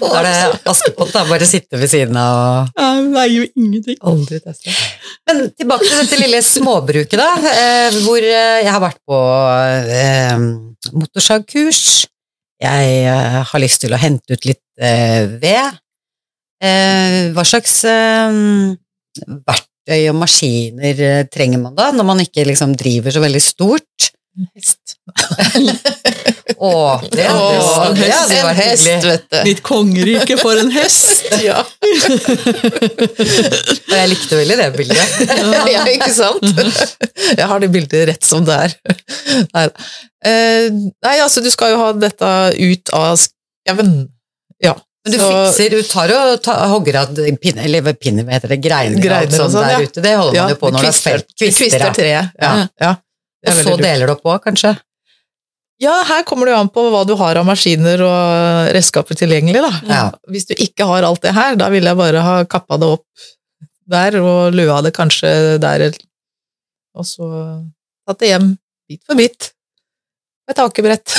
B: da er det <laughs> Askepott, da. Bare sitte ved siden av og
A: Jeg veier jo ingenting.
C: Aldri testa.
B: Men tilbake til dette lille småbruket, da. Eh, hvor eh, jeg har vært på eh, motorsagkurs. Jeg eh, har lyst til å hente ut litt eh, ved. Eh, hva slags eh, verktøy og maskiner eh, trenger man da, når man ikke liksom driver så veldig stort?
C: Hest.
B: Å, det,
C: Åh,
B: det, det hadde jo
C: en
B: vært
C: hest,
B: hyggelig.
C: vet du.
A: Mitt kongerike for en hest!
C: <laughs> Ja.
B: Og jeg likte veldig det bildet.
C: ja, ikke sant? <laughs> Jeg har det bildet rett som det er. <laughs> Nei, da. Eh, nei altså, du skal jo ha dette ut av skauen. Ja.
B: Men du
C: så-
B: fikser, du tar og ta, hogger av pinner, eller pinner, hva heter det, greiner, og
C: Greiner
B: alt
C: og
B: sånt
C: sånn,
B: der
C: ja.
B: ute. Det holder
C: Ja,
B: man jo på når det er felt. Kvister,
C: kvister
B: ja.
C: treet. Ja. ja. Det er
B: Og så
C: veldig lurt.
B: deler du opp òg, kanskje?
C: Ja, her kommer det jo an på hva du har av maskiner og redskaper tilgjengelig, da.
B: Ja.
C: Hvis du ikke har alt det her, da ville jeg bare ha kappa det opp der, og løa det kanskje der, eller- og så tatt det hjem bit for bit. et <laughs> akebrett.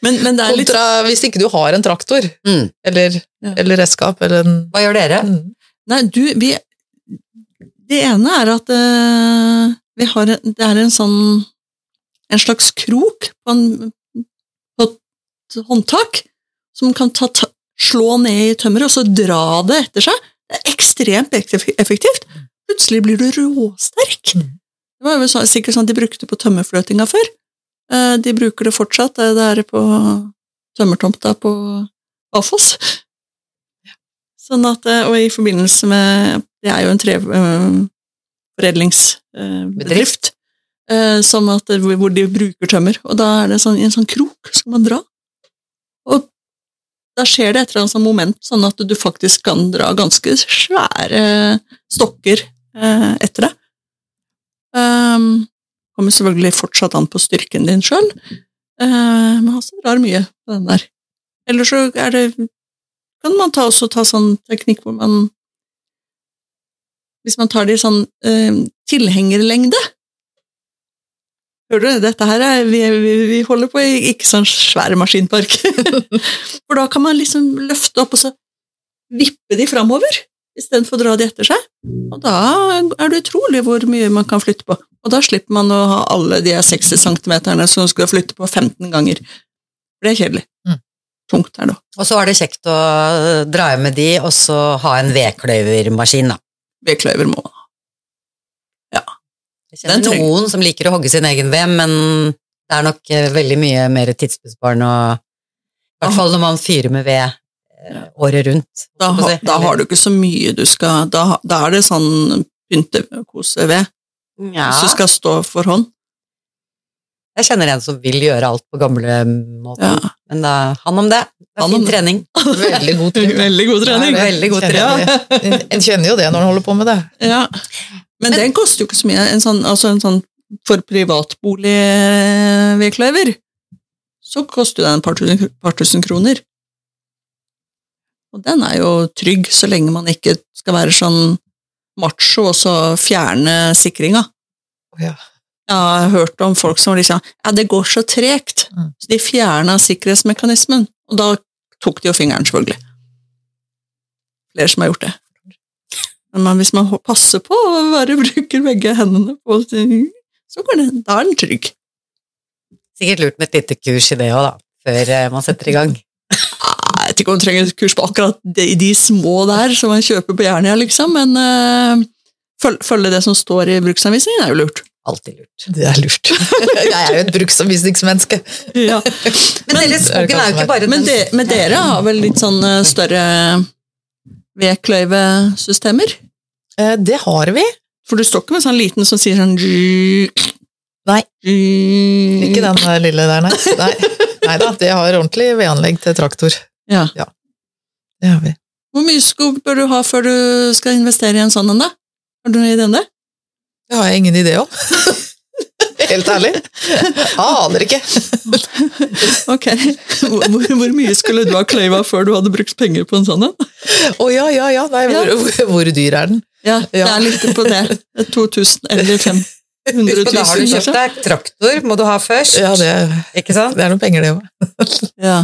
A: Men, men det er litt
C: Kontra hvis ikke du har en traktor,
B: Mm.
C: eller,
A: Ja.
C: eller redskap, eller en
B: Hva gjør dere?
C: Mm.
A: Nei, du, vi Det ene er at eh, vi har en, Det er en sånn En slags krok på, en, på et håndtak som kan ta, ta, slå ned i tømmeret og så dra det etter seg. Det er ekstremt ekteff- effektivt. Plutselig blir du råsterk.
C: Mm.
A: Det var jo så, sikkert sånn de brukte på tømmerfløtinga før. Eh, de bruker det fortsatt. eh, Det er på tømmertomta på Afoss. Sånn at, eh, og i forbindelse med Det er jo en eh, treforedlingsbedrift. Som at, eh, hvor hvor de bruker tømmer. Og da er det sånn, i en sånn krok skal man dra. Og da skjer det et eller annet sånn moment, sånn at du faktisk kan dra ganske svære stokker eh, etter deg. Um, kommer selvfølgelig fortsatt an på styrken din sjøl, uh, men altså drar mye på den der. Eller så er det kan man ta, også ta sånn teknikk hvor man Hvis man tar det i sånn eh, tilhengerlengde Hører du, dette her er Vi, vi, vi holder på i ikke sånn svær maskinpark. For da kan man liksom løfte opp og så vippe de framover istedenfor å dra de etter seg. Og da er det utrolig hvor mye man kan flytte på. Og da slipper man å ha alle de
B: Mm.
A: 60 centimeterne som skal flytte på 15 ganger. Det er kjedelig.
C: Mm.
A: Tungt er det òg.
B: Og så er det kjekt å dra hjem med de, og så ha en vedkløyvermaskin, da.
A: Vedkløyver må man ha.
B: Jeg kjenner
A: Den trenger-
B: noen som liker å hogge sin egen ved, men det er nok eh, veldig mye mer tidsbesparende å I hvert fall når man fyrer med ved eh, året rundt.
A: Da,
B: holdt
A: ha,
B: jeg på å si.
A: da har du ikke så mye du skal Da, ha- da er det sånn pyntekoseved
B: ja.
A: hvis du skal stå for hånd.
B: Jeg kjenner en som vil gjøre alt på
A: Ja.
B: gamlemåten, men da, han om det. Det
A: Han
B: er
A: om
B: fin
A: det.
B: trening.
C: Veldig <laughs> god trening.
A: Veldig god
C: trening.
A: trening.
B: Veldig god
C: Kjenner
B: trening.
C: jeg det. En en kjenner jo det når en holder på med det.
A: Ja. Men, den koster jo ikke så mye. En sånn, altså en sånn for privatbolig-vedkløyver, så koster den et par, tusen- par tusen kroner. Og den er jo trygg, så lenge man ikke skal være sånn macho og så fjerne sikringa.
C: Å ja.
A: Jeg har hørt om folk som liksom Ja, det går så tregt.
C: Mm.
A: Så de fjerna sikkerhetsmekanismen, og da tok de jo fingeren, selvfølgelig. Flere som har gjort det. Men man, hvis man ho- passer på og bare bruker begge hendene på ting, så går det, da er den trygg.
B: Sikkert lurt med et lite kurs i det òg, da. Før eh, man setter i gang.
A: Jeg vet ikke om du trenger et kurs på akkurat de, de små der som man kjøper på Jernia, liksom, men eh, føl, følge det som står i bruksanvisningen er jo lurt.
B: Alltid lurt.
C: Det er lurt. <laughs> Jeg er jo et bruksanvisningsmenneske.
A: Ja.
B: Men hele skogen er jo ikke bare
A: <laughs> Men, de, men dere har vel litt sånn eh, større vedkløyvesystemer?
C: Eh, Det har vi.
A: For du står ikke med sånn liten som sier sånn <sniffs>
C: Nei. Ikke
A: Ikke
C: den der lille der, <laughs> nei. Nei, nei da, det har ordentlig vedanlegg til traktor.
A: Ja.
C: Det har vi.
A: Hvor mye skog bør du ha før du skal investere i en sånn en, da? Har du noen idé om det?
C: Det har jeg ingen idé om. <laughs> Helt ærlig. Jeg aner ikke.
A: Ok. <laughs> Hvor, hvor, hvor mye skulle du ha kløyva før du hadde brukt penger på en sånn en?
C: <laughs> Å ja, ja, ja. Nei, hvor, hvor dyr er den?
A: Ja, det
C: Ja.
A: er litt på <laughs> det. 2000 eller 500
B: Husk på,
A: 000,
B: da har du kjøpt
A: kanskje?
B: deg traktor, må du ha først.
C: Ja, det,
B: Ikke sant?
C: det er noen penger, det òg.
A: Ja.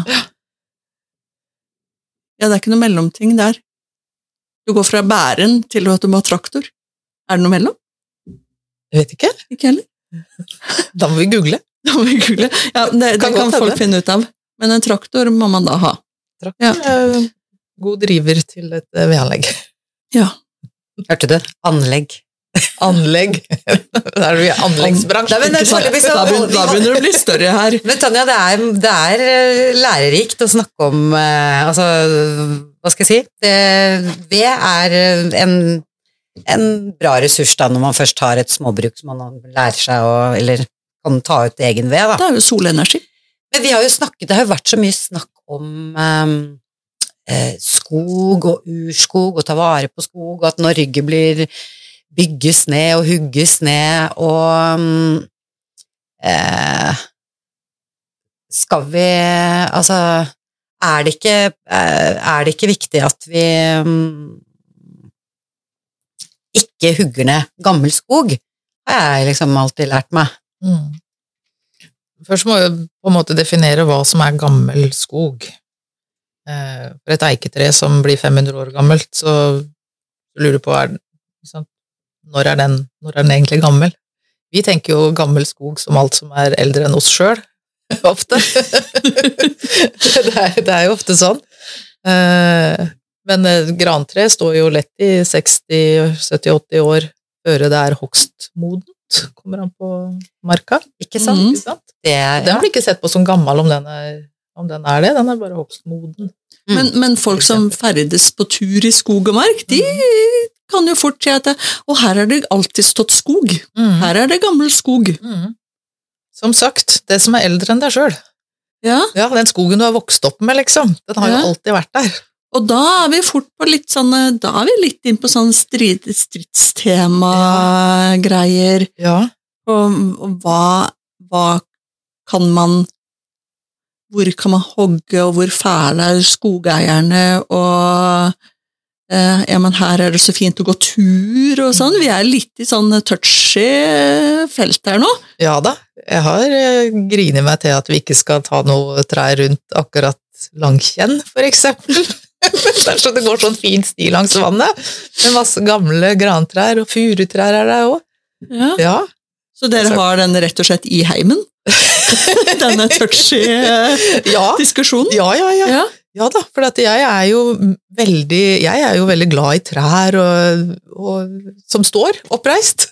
A: ja, det er ikke noe mellomting der. Du går fra bæren til at du må ha traktor. Er det noe mellom?
C: Jeg vet ikke.
A: Ikke <laughs> heller.
C: Da må vi google.
A: Da må vi google. Ja, det, det
C: Kan
A: kan,
C: godt hende.
A: folk finne ut av. Men en traktor må man da ha.
C: Traktor er god driver til et eh, vedanlegg.
B: Hørte du? Anlegg.
C: Anlegg. <laughs> Da er vi i
B: Nei,
C: anleggsbransjen.
B: men
C: ikke sant?
B: foreløpig så-
A: Da begynner, da begynner det å bli større her.
B: Men Tanja, det er, det er eh, lærerikt å snakke om eh, Altså, hva skal jeg si? Det, ved er eh, en, en bra ressurs da, når man først har et småbruk som man lærer seg å Eller kan ta ut egen ved, da.
A: Det er jo solenergi.
B: Men vi har jo snakket, det har jo vært så mye snakk om ehm, eh, skog og urskog, og ta vare på skog, og at Norge blir bygges ned og hugges ned, og mm, eh, skal vi Altså, er det ikke, eh, er det ikke viktig at vi mm, ikke hugger ned gammel skog? har jeg liksom alltid lært meg.
C: Mm. Først må vi på en måte definere hva som er gammel skog. Eh, For et eiketre som blir 500 år gammelt, så lurer du på er, den- ikke sant, når, er den, når er den egentlig gammel? Vi tenker jo gammel skog som alt som er eldre enn oss sjøl, <laughs> ofte. det, er, det er jo ofte sånn. Eh, Men eh, grantre står jo lett i 60-70-80 år før det er hogstmodent, kommer an på marka.
B: Ikke sant?
A: Mm.
C: Ikke sant?
B: Det er,
C: Den blir ikke sett på som gammel om den er, om den er det, den er bare hogstmoden.
B: Mm.
A: Men, men folk som ferdes på tur i skog og mark, de kan jo fort si at det, Og her har det alltid stått skog. Her er det gammel skog.
C: Mm. Som sagt, det som er eldre enn deg sjøl.
A: Ja,
C: Ja, den skogen du har vokst opp med, liksom, den har
A: Ja.
C: jo alltid vært der.
A: og da er vi fort på litt sånn Da er vi litt inn på sånn strid, stridstema-greier.
C: Ja.
A: Og, og hva, hva kan man Hvor kan man hogge, og hvor fæle er skogeierne, og eh, ja, men her er det så fint å gå tur og sånn. Vi er litt i sånn touchy felt her nå.
C: Ja da, jeg har eh, grinet meg til at vi ikke skal ta noe trær rundt akkurat Langkjenn, for eksempel. <laughs> Der så det går sånn fin sti langs vannet, med masse gamle grantrær, og furutrær er der òg. Ja.
A: Så dere har den rett og slett i heimen? Denne touchy eh,
C: Ja.
A: diskusjonen?
C: ja, ja, ja.
A: Ja.
C: Ja da, for at jeg er jo veldig, jeg er jo veldig glad i trær og, og, som står
A: <laughs>
C: oppreist.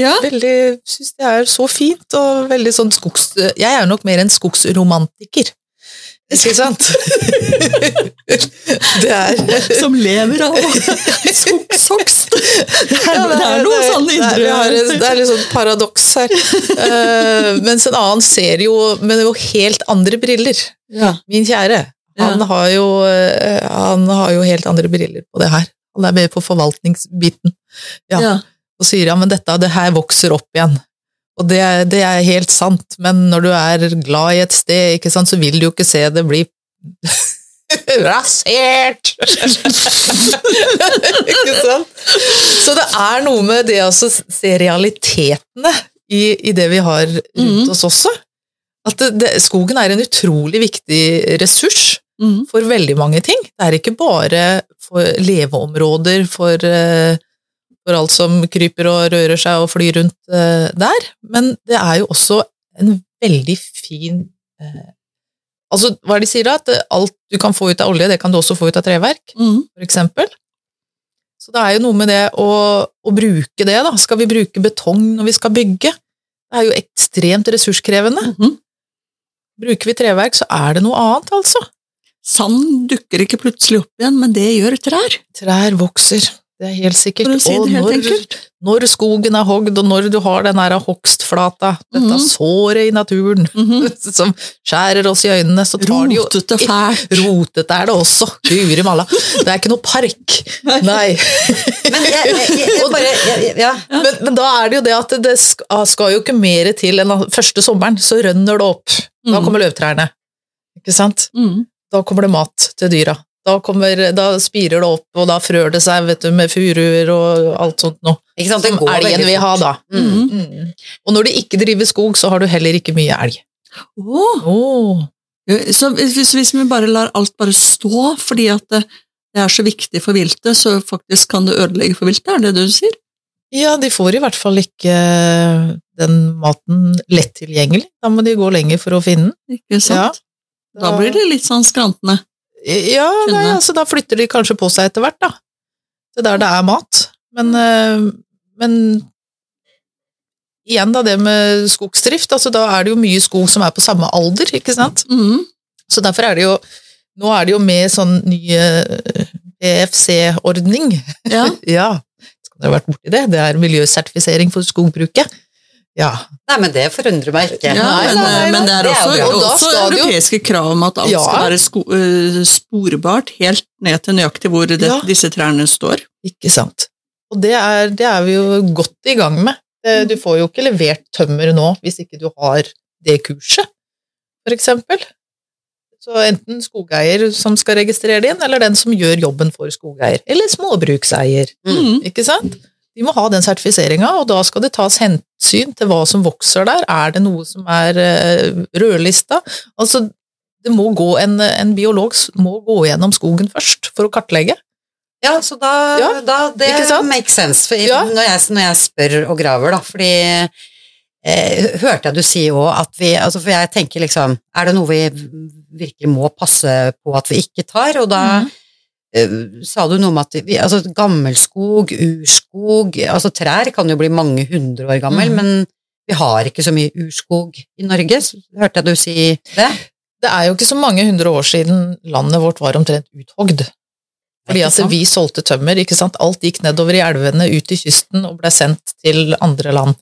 A: ja.
C: Veldig, synes det er så fint og veldig sånn skogs... Jeg er nok mer en skogsromantiker.
A: <laughs>
C: Ikke sant? <laughs> det er...
A: Som lever av skogshogst. Det, er-
C: Ja,
A: det er noe sånn
C: det er- vi har en- Det
A: indre
C: er litt sånn paradoks
A: <laughs>
C: her. Eh, mens en annen ser jo med jo helt andre briller.
A: <laughs> ja.
C: Min kjære, han,
A: Ja.
C: har jo, eh, han har jo helt andre briller på det her. Han er med på forvaltningsbiten. Ja.
A: Ja.
C: Og sier ja, men dette det her vokser opp igjen. Og det, er- det er helt sant, men når du er glad i et sted, ikke sant, så vil du jo ikke se det bli <laughs> rasert! <laughs> ikke sant? Så det er noe med det å se realitetene i, i det vi har rundt
A: Mhm.
C: oss også. At det, det, skogen er en utrolig viktig ressurs
A: Mm.
C: for veldig mange ting. Det er ikke bare for leveområder for, eh, for alt som kryper og rører seg og flyr rundt eh, der, men det er jo også en veldig fin eh, Altså, hva er det de sier da? At eh, alt du kan få ut av olje, det kan du også få ut av treverk,
A: Mm.
C: for eksempel. Så det er jo noe med det å, å bruke det, da. Skal vi bruke betong når vi skal bygge? Det er jo ekstremt ressurskrevende.
A: Mhm.
C: Bruker vi treverk, så er det noe annet, altså.
A: Sand dukker ikke plutselig opp igjen, men det gjør trær,
C: Trær vokser, det er helt sikkert.
A: for å si
C: Og
A: det helt
C: når,
A: enkelt.
C: når skogen er hogd, og når du har den her hogstflata, dette
A: Mhm.
C: såret i naturen <laughs>
A: Mhm.
C: som skjærer oss i øynene, så tar de jo
A: Rotete og fælt.
C: Rotete er det også, guri malla. Det er ikke noe park, nei.
B: men jeg, jeg, jeg, jeg bare jeg, jeg, Ja.
C: Men, men da er det jo det at det sk- ah, skal jo ikke mer til enn at første sommeren, så rønner det opp. Da
A: Mm.
C: kommer løvtrærne, ikke sant?
A: Mm.
C: da kommer det mat til dyra. Da, kommer, da spirer det opp, og da frør det seg vet du, med furuer og alt sånt noe.
B: Ikke sant? Det
C: Som
B: går
C: elgen
B: veldig
C: vil ha,
B: fort.
C: da.
B: Mm.
A: Mm.
C: Mm. Og når du ikke driver skog, så har du heller ikke mye elg.
A: Åh.
C: Oh.
A: Så hvis, hvis vi bare lar alt bare stå fordi at det, det er så viktig for viltet, så faktisk kan det ødelegge for viltet, er det det du sier?
C: Ja, de får i hvert fall ikke eh, den maten lett tilgjengelig. Da må de gå lenger for å finne den.
A: Ikke sant? Da blir det litt sånn skrantende.
C: Ja, nei,
A: Skjønner.
C: altså, da flytter de kanskje på seg etter hvert, da. Det der det er mat. Men, eh, men igjen, da, det med skogsdrift. Altså, da er det jo mye skog som er på samme alder, ikke sant?
A: Mm.
C: Så derfor er det jo Nå er det jo med sånn ny eh, EFC-ordning. <laughs>
A: Ja.
C: Ja. Skal dere ha vært borti det? Det er miljøsertifisering for skogbruket. Ja.
B: Nei, men det forundrer meg ikke.
A: Ja,
C: Nei,
A: men,
C: nei, nei,
A: men det er
B: det er
A: også,
B: jo
C: bra. Og da
A: også
C: skal det jo-
A: europeiske krav om at alt
C: Ja.
A: skal være sko eh, sporbart helt ned til nøyaktig hvor det,
C: Ja.
A: disse trærne står.
C: Ikke sant. Og det er, det er vi jo godt i gang med. Eh, Du får jo ikke levert tømmer nå hvis ikke du har det kurset, for eksempel. Så enten skogeier som skal registrere det inn, eller den som gjør jobben for skogeier. Eller småbrukseier,
A: Mm.
C: ikke sant? De må ha den sertifiseringa, og da skal det tas hensyn til hva som vokser der. Er det noe som er eh, rødlista? Altså, det må gå en, en biolog s- må gå gjennom skogen først for å kartlegge.
B: Ja, så da,
C: Ja,
B: da Det
C: ikke sant?
B: makes sense for
C: Ja.
B: når, jeg, når jeg spør og graver, da, fordi eh, Hørte jeg du si òg at vi altså For jeg tenker liksom Er det noe vi virkelig må passe på at vi ikke tar? Og da
C: Mhm.
B: eh, sa du noe om at vi, altså, gammelskog, urskog Altså trær kan jo bli mange hundre år gammel,
C: Mhm.
B: men vi har ikke så mye urskog i Norge. Så Hørte jeg du si det?
C: Det er jo ikke så mange hundre år siden landet vårt var omtrent uthogd. Fordi
B: Ikke
C: at
B: sant?
C: vi solgte tømmer, ikke sant. Alt gikk nedover i elvene, ut til kysten og ble sendt til andre land.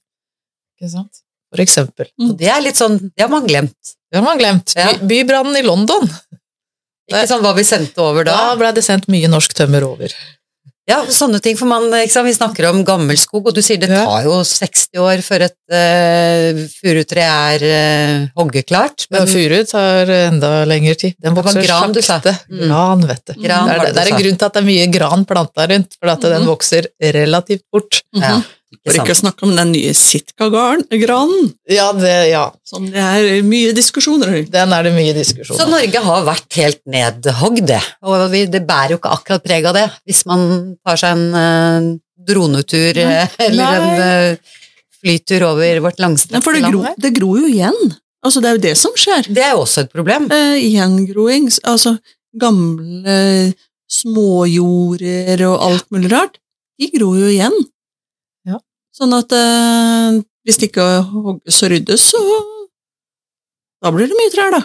C: Ikke sant. For eksempel.
B: Og det er litt sånn Det har man glemt.
C: Det har man glemt.
B: Ja.
C: By- Bybrannen i London.
B: Ikke sant hva vi sendte over
C: Da
B: da.
C: ble det sendt mye norsk tømmer over.
B: Ja, sånne ting, for man, ikke sant, vi snakker om gammelskog, og du sier det
C: Ja.
B: tar jo 60 år før et eh, furutre er eh, hoggeklart.
C: Men
B: Men
C: Furu tar enda lengre tid. Den
B: var
C: vokser
B: gran du sa.
C: sakte.
B: Mm.
C: Gran, vet du.
B: Gran
C: det,
B: var
C: er,
B: det
C: det er
B: du
C: en
B: sa.
C: grunn til at det er mye gran planta rundt, for at den
A: Mhm.
C: vokser relativt fort.
B: ja,
A: Mhm. For
B: ikke
A: ikke å
B: sant.
A: snakke om den nye Sitka-granen,
C: Ja, det, ja,
A: som det er eh, mye diskusjoner rundt.
C: den er det mye
B: Så
C: diskusjon om.
B: Norge har vært helt nedhogd, det. Og vi, det bærer jo ikke akkurat preg av det, hvis man tar seg en eh, dronetur eh, eller en eh, flytur over
A: Nei,
B: vårt
A: for
B: langstrakte
A: det,
B: land.
A: gro, det gror jo igjen. Altså, det er jo det som skjer.
B: Det er jo også et problem.
A: Eh, gjengroing, s- altså gamle småjorder og alt mulig rart, de gror jo igjen.
C: Ja.
A: Sånn at eh, hvis det ikke hogges og ryddes, så da blir det mye trær, da.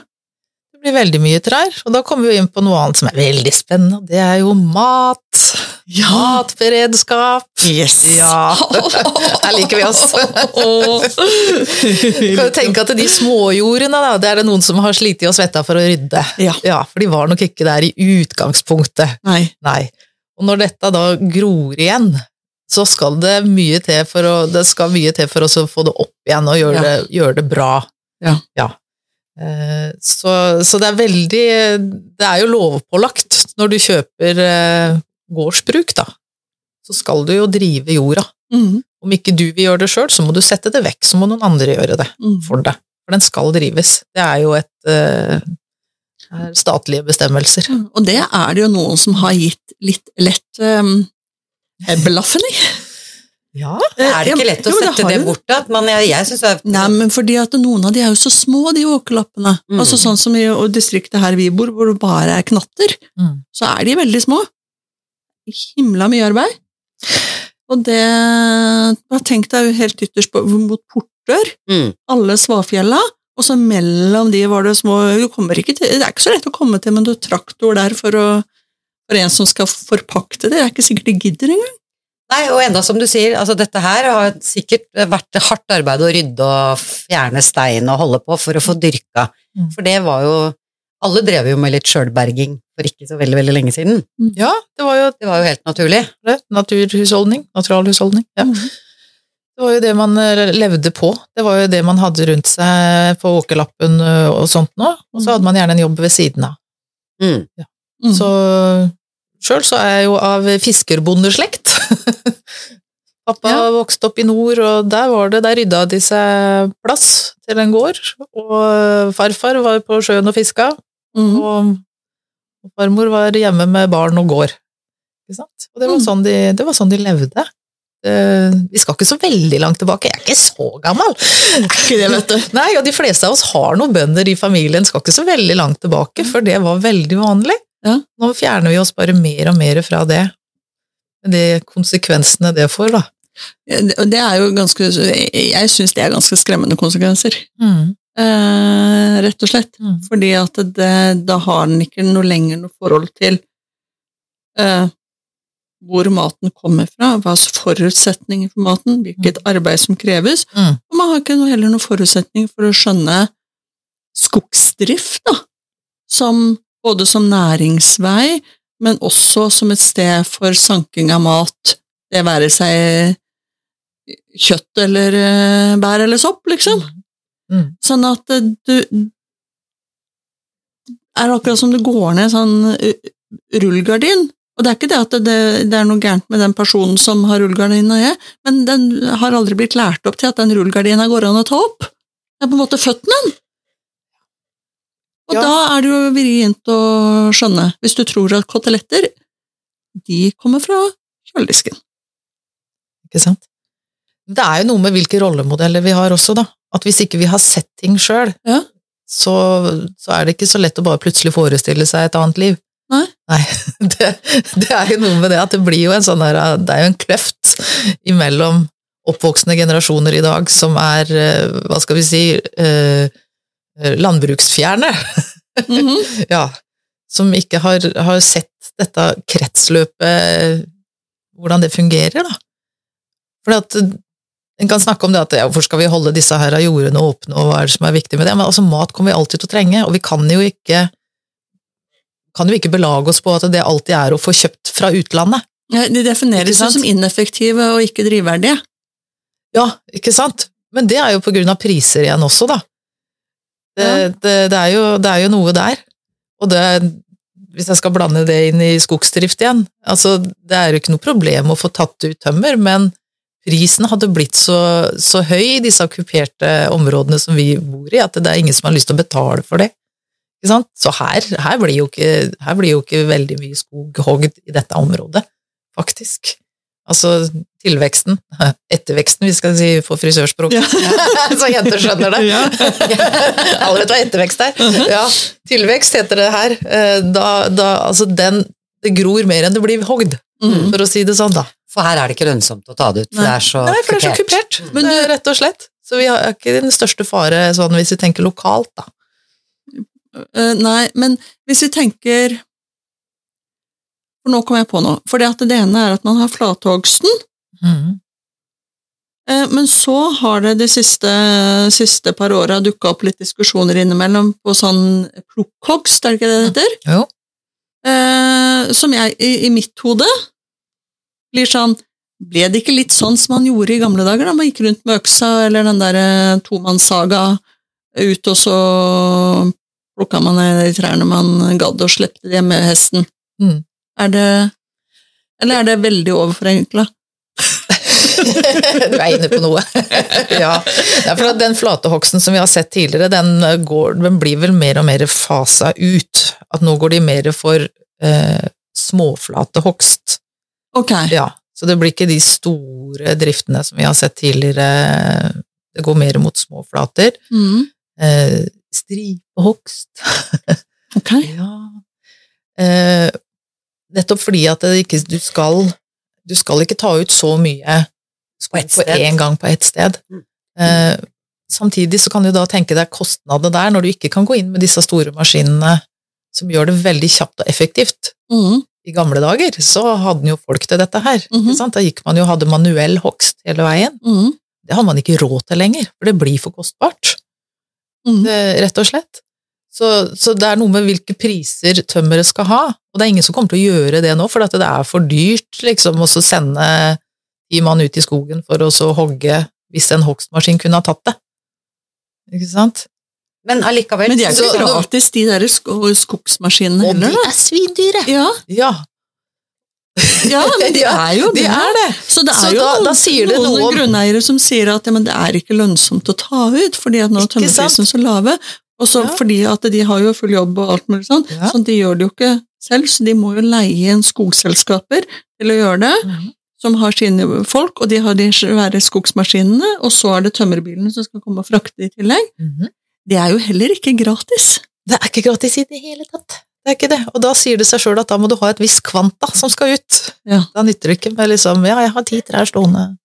C: Det blir veldig mye trær, og da kommer vi jo inn på noe annet som er veldig spennende, og det er jo mat. Matberedskap.
A: Yes!
C: <laughs> Ja, der liker vi oss.
A: <laughs>
C: Kan jo tenke at de småjordene, da, det er det noen som har slitt og svetta for å rydde.
A: Ja.
C: for de var nok ikke der i utgangspunktet.
A: Nei.
C: Nei. Og når dette da gror igjen, så skal det mye til for å, det skal mye til for oss å få det opp igjen og gjøre,
A: Ja.
C: det, gjøre det bra.
A: Ja.
C: Eh, Så, så det er veldig Det er jo lovpålagt når du kjøper eh, gårdsbruk, da. Så skal du jo drive jorda.
A: Mhm,
C: Om ikke du vil gjøre det sjøl, så må du sette det vekk, så må noen andre gjøre det
A: mhm.
C: for det. For den skal drives. Det er jo et eh, er statlige bestemmelser.
A: Og det er det jo noen som har gitt litt lett um, blaffen i.
C: Ja.
B: Er det ikke lett å
A: Jo,
B: sette
A: har
B: det
A: jo-
B: bort? da? At man, jeg, jeg synes det er
A: Nei, men fordi at noen av de er jo så små, de åkerlappene.
B: Mm.
A: Altså sånn som i og distriktet her vi bor, hvor det bare er knatter,
C: Mm.
A: så er de veldig små. Himla mye arbeid. Og det bare Tenk deg jo helt ytterst på, mot Portør,
B: Mm.
A: alle svafjella, og så mellom de var det små du kommer ikke til, Det er ikke så lett å komme til med noen traktor der for, å, for en som skal forpakte det. Det er ikke sikkert de gidder engang.
B: Nei, og enda som du sier, altså dette her har sikkert vært hardt arbeid å rydde og fjerne stein og holde på for å få dyrka.
C: Mm.
B: For det var jo Alle drev jo med litt sjølberging for ikke så veldig, veldig lenge siden.
C: ja, det var jo
B: Det var jo helt naturlig.
C: det. Naturhusholdning. Naturalhusholdning. Ja.
A: Mhm.
C: Det var jo det man eh, levde på. Det var jo det man hadde rundt seg på åkerlappen eh, og sånt nå. Og så hadde man gjerne en jobb ved siden av.
B: Mm.
A: Mm.
C: Så sjøl så er jeg jo av fiskerbondeslekt. <laughs> Pappa
A: Ja.
C: vokste opp i nord, og der var det, der rydda de seg plass til en gård. Og farfar var på sjøen og fiska,
A: Mhm.
C: og, og farmor var hjemme med barn og gård. Ikke sant? Og det var,
A: Mm.
C: sånn de, det var sånn de levde. Eh, vi skal ikke så veldig langt tilbake, jeg er ikke så gammel.
A: Ikke det, vet du.
C: Nei, og de fleste av oss har noen bønder i familien, skal ikke så veldig langt tilbake, for det var veldig vanlig.
A: Mm. Ja.
C: Nå fjerner vi oss bare mer og mer fra det. De konsekvensene det får, da.
A: Det- Og det er jo ganske Jeg syns det er ganske skremmende konsekvenser. Mm. Eh, rett og slett.
C: Mm.
A: Fordi at det, da har den ikke noe lenger noe forhold til eh, hvor maten kommer fra, hva slags forutsetninger for maten, hvilket arbeid som kreves.
C: Mm.
A: Og man har ikke noe, heller noen forutsetning for å skjønne skogsdrift, da. Som, både som næringsvei, men også som et sted for sanking av mat. Det være seg kjøtt eller eh, bær eller sopp, liksom.
C: Mm.
A: Sånn at eh, du er akkurat som det går ned en sånn eh, rullgardin, Og det er ikke det at det, det er noe gærent med den personen som har rullegardina, jeg, men den har aldri blitt lært opp til at den rullegardina går an å ta opp. Det er på en måte født med den. Og
C: Ja.
A: da er det jo vrient å skjønne, hvis du tror at koteletter, de kommer fra
C: <laughs>
A: kjøledisken.
C: Ikke sant? Det er jo noe med hvilke rollemodeller vi har også, da. At hvis ikke vi har sett ting sjøl,
A: Ja.
C: så, så er det ikke så lett å bare plutselig forestille seg et annet liv.
A: Nei.
C: <laughs> det, det er jo noe med det at det blir jo en sånn der, det er jo en kløft imellom oppvoksende generasjoner i dag som er, eh, hva skal vi si, eh, landbruksfjerne.
A: Mhm.
C: Ja, som ikke har, har sett dette kretsløpet, hvordan det fungerer, da. Fordi at en kan snakke om det at ja, hvorfor skal vi holde disse her av jordene åpne, og hva er det som er viktig med det, men altså mat kommer vi alltid til å trenge, og vi kan jo ikke kan jo ikke belage oss på at det alltid er å få kjøpt fra utlandet.
A: Ja, De
C: Ikke
A: defineres jo
C: sant?
A: som ineffektive og ikke drivverdige.
C: Ja, ikke sant? Men det er jo på grunn av priser igjen også, da. Det,
A: Ja.
C: det, det, er, jo, det er jo noe der. Og det, hvis jeg skal blande det inn i skogsdrift igjen, altså det er jo ikke noe problem å få tatt ut tømmer, men prisen hadde blitt så, så høy i disse okkuperte områdene som vi bor i, at det er ingen som har lyst til å betale for det. Ikke sant? Så her, her, blir jo ikke, her blir jo ikke veldig mye skog hogd i dette området, faktisk. Altså tilveksten, <laughs> etterveksten, vi skal si på frisørspråk,
A: Ja.
C: <laughs> så jenter skjønner det.
A: <laughs> Ja.
C: <laughs> Allerede er ettervekst <laughs> her. Ja, tilvekst heter det her. Eh, Da, da, altså den, det gror mer enn det blir hogd,
A: Mhm.
C: for å si det sånn, da.
B: For her er det ikke lønnsomt å ta det ut, for
A: Nei.
B: det er så
C: Nei, for det er så
B: kupert.
C: kupert, men det er rett og slett. Så vi har ikke den største fare sånn hvis vi tenker lokalt, da.
A: Eh, nei, men hvis vi tenker For nå kom jeg på noe. For det, at det ene er at man har flathogsten,
C: Mm.
A: eh, men så har det de siste, siste par åra dukka opp litt diskusjoner innimellom på sånn plukkhogst, er det ikke det det heter?
C: Jo.
A: Eh, som jeg, i, i mitt hode, blir sånn Ble det ikke litt sånn som man gjorde i gamle dager, da man gikk rundt med øksa eller den derre tomannssaga ut, og så plukka man ned de trærne man gadd, og slepte det med hesten?
C: Mm.
A: Er det Eller er det veldig overforenkla?
C: <laughs> du er inne på noe. ja. Det er for at den flatehogsten som vi har sett tidligere, den, går, den blir vel mer og mer fasa ut. At nå går de mer for eh, småflatehogst.
A: Ok.
C: Ja. Så det blir ikke de store driftene som vi har sett tidligere. Det går mer mot småflater.
A: Mm.
C: Eh, stripehogst.
A: Ok.
C: Ja. Eh, nettopp fordi at det ikke, du, skal, du skal ikke ta ut så mye
B: På ett
C: på
B: sted.
C: én gang på ett sted.
B: Mm.
C: Eh, samtidig så kan du da tenke deg kostnadene der, når du ikke kan gå inn med disse store maskinene som gjør det veldig kjapt og effektivt.
A: Mm.
C: I gamle dager så hadde jo folk til dette her.
A: Mhm.
C: ikke sant? Da gikk man jo og hadde manuell hogst hele veien.
A: Mm.
C: Det har man ikke råd til lenger, for det blir for kostbart
A: Mm.
C: det, Eh, rett og slett. Så, så det er noe med hvilke priser tømmeret skal ha, og det er ingen som kommer til å gjøre det nå, for at det er for dyrt liksom, å så sende ti mann ut i skogen for å så hogge hvis en hogstmaskin kunne ha tatt det. Ikke sant?
B: Men allikevel
A: Men de er jo
B: så-
A: ikke gratis, de der sko skogsmaskinene
B: Og de
A: heller. da.
B: er svindyre!
A: Ja,
C: Ja,
A: ja, men de
C: <laughs> Ja,
A: er jo
C: de
A: det.
C: er det!
A: Så det
C: Så
A: er jo
C: da-
A: noen,
C: da sier det
A: noen
C: noe om-
A: grunneiere som sier at ja, men det er ikke lønnsomt å ta ut, fordi at nå er
C: Ikke sant?
A: tømmerprisene så lave. Og så
C: Ja.
A: fordi at de har jo full jobb og alt mulig sånn,
C: Ja.
A: så de gjør det jo ikke selv, så de må jo leie inn skogselskaper til å gjøre det. Som har sine folk, og de har de svære skogsmaskinene, og så er det tømmerbilene som skal komme og frakte i tillegg.
C: Mhm.
A: Det er jo heller ikke gratis.
C: Det er ikke gratis i det hele tatt. Det er ikke det. Og da sier det seg sjøl at da må du ha et visst kvant da, som skal ut.
A: Ja.
C: Da nytter det ikke med liksom Ja, jeg har ti trær stående.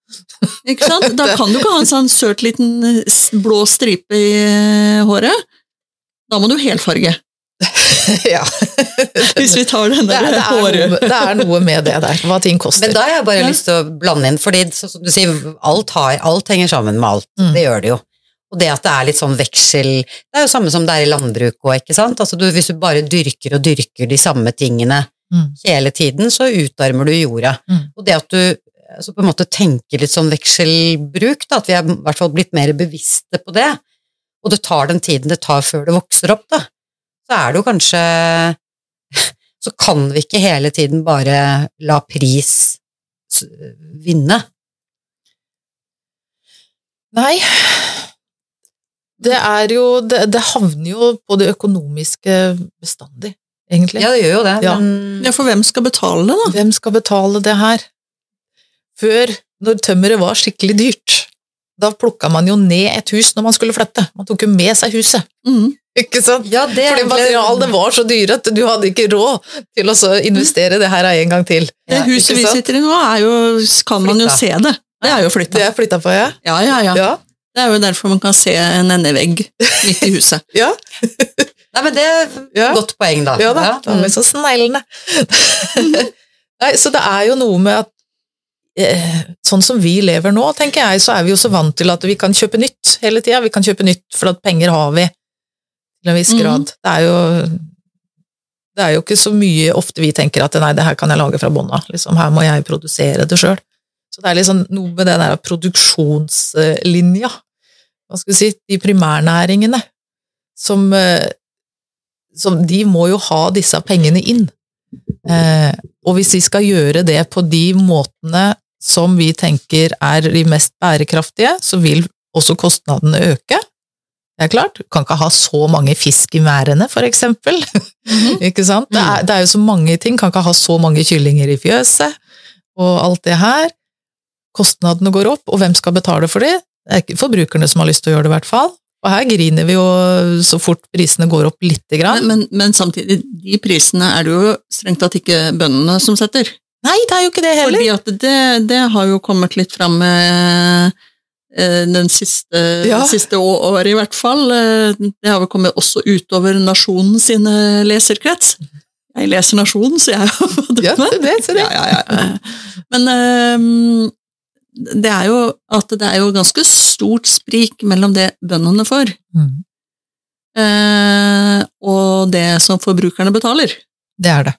A: Ikke sant? Da kan du ikke ha en sånn søt liten eh, s- blå stripe i eh, håret. Da må du helfarge,
C: <laughs> ja.
A: <laughs> hvis vi tar den
C: Det er,
A: der
C: det, er
A: håret.
C: noe, det er noe med det der, hva ting koster.
B: Men da har jeg bare
A: Ja.
B: lyst til å blande inn, fordi så, som du sier, alt, har, alt henger sammen med alt.
C: Mm.
B: Det gjør det jo. Og det at det er litt sånn veksel Det er jo samme som det er i landbruk òg, ikke sant? Altså du, hvis du bare dyrker og dyrker de samme tingene
C: Mm.
B: hele tiden, så utarmer du jorda.
C: Mm.
B: Og det at du altså på en måte tenker litt sånn vekselbruk, da, at vi er i hvert fall blitt mer bevisste på det, og det tar den tiden det tar før det vokser opp, da, så er det jo kanskje <laughs> så kan vi ikke hele tiden bare la pris s- vinne.
C: Nei. Det er jo Det, det havner jo på det økonomiske bestandig, egentlig.
B: Ja, det gjør jo det,
C: Ja.
B: men
A: Ja, for hvem skal betale det, da?
C: Hvem skal betale det her? Før, når tømmeret var skikkelig dyrt, da plukka man jo ned et hus når man skulle flytte. Man tok jo med seg huset,
A: Mm.
C: ikke sant?
B: ja, det er
C: Fordi
B: egentlig-
C: materialene var så dyre at du hadde ikke råd til å så investere det her en gang til.
A: Det
B: Ja,
A: huset
C: ikke
A: vi
C: sant?
A: sitter i nå, er jo, kan man jo
B: Flytta.
A: se det. Det er jo
C: Det
A: flytta.
C: er flytta på, ja?
A: Ja, ja, ja.
C: Ja.
A: Det er jo derfor man kan se en endevegg midt i
C: <laughs>
A: huset.
C: ja.
B: Nei, men det er
C: Ja.
B: et godt poeng, da.
C: Ja da,
B: Ja.
C: da er vi så sneglene. <laughs> Nei, så det er jo noe med at eh, sånn som vi lever nå, tenker jeg, så er vi jo så vant til at vi kan kjøpe nytt hele tida. Vi kan kjøpe nytt, for at penger har vi til en viss
A: Mhm.
C: grad. Det er jo det er jo ikke så mye ofte vi tenker at nei, det her kan jeg lage fra bånn av. Liksom, her må jeg produsere det sjøl. Så det er liksom noe med den der produksjonslinja, hva skal vi si, de primærnæringene, som, eh, som De må jo ha disse pengene inn. Eh, og hvis vi skal gjøre det på de måtene som vi tenker er de mest bærekraftige, så vil også kostnadene øke. Det er klart. Du kan ikke ha så mange fisk i merdene, for eksempel. <laughs> Ikke sant? Det er, det er jo så mange ting. Kan ikke ha så mange kyllinger i fjøset, og alt det her. Kostnadene går opp, og hvem skal betale for det? Det er ikke forbrukerne som har lyst til å gjøre det, i hvert fall. Og her griner vi jo så fort prisene går opp lite grann.
A: Men, men, men samtidig, de prisene er det jo strengt tatt ikke bøndene som setter.
C: Nei, det er jo ikke det heller!
A: Fordi at det, det har jo kommet litt fram eh, eh, den siste,
C: Ja.
A: siste å- året, i hvert fall. Eh, Det har vel kommet også utover Nasjonen sine leserkrets. Jeg leser Nasjonen, så jeg har fått
C: <laughs> Ja,
A: med.
C: det, det, ser
A: Ja,
C: jeg.
A: ja, ja. Men eh, det er jo at det er jo ganske stort sprik mellom det bøndene får,
C: Mm,
A: eh, og det som forbrukerne betaler.
C: det er det.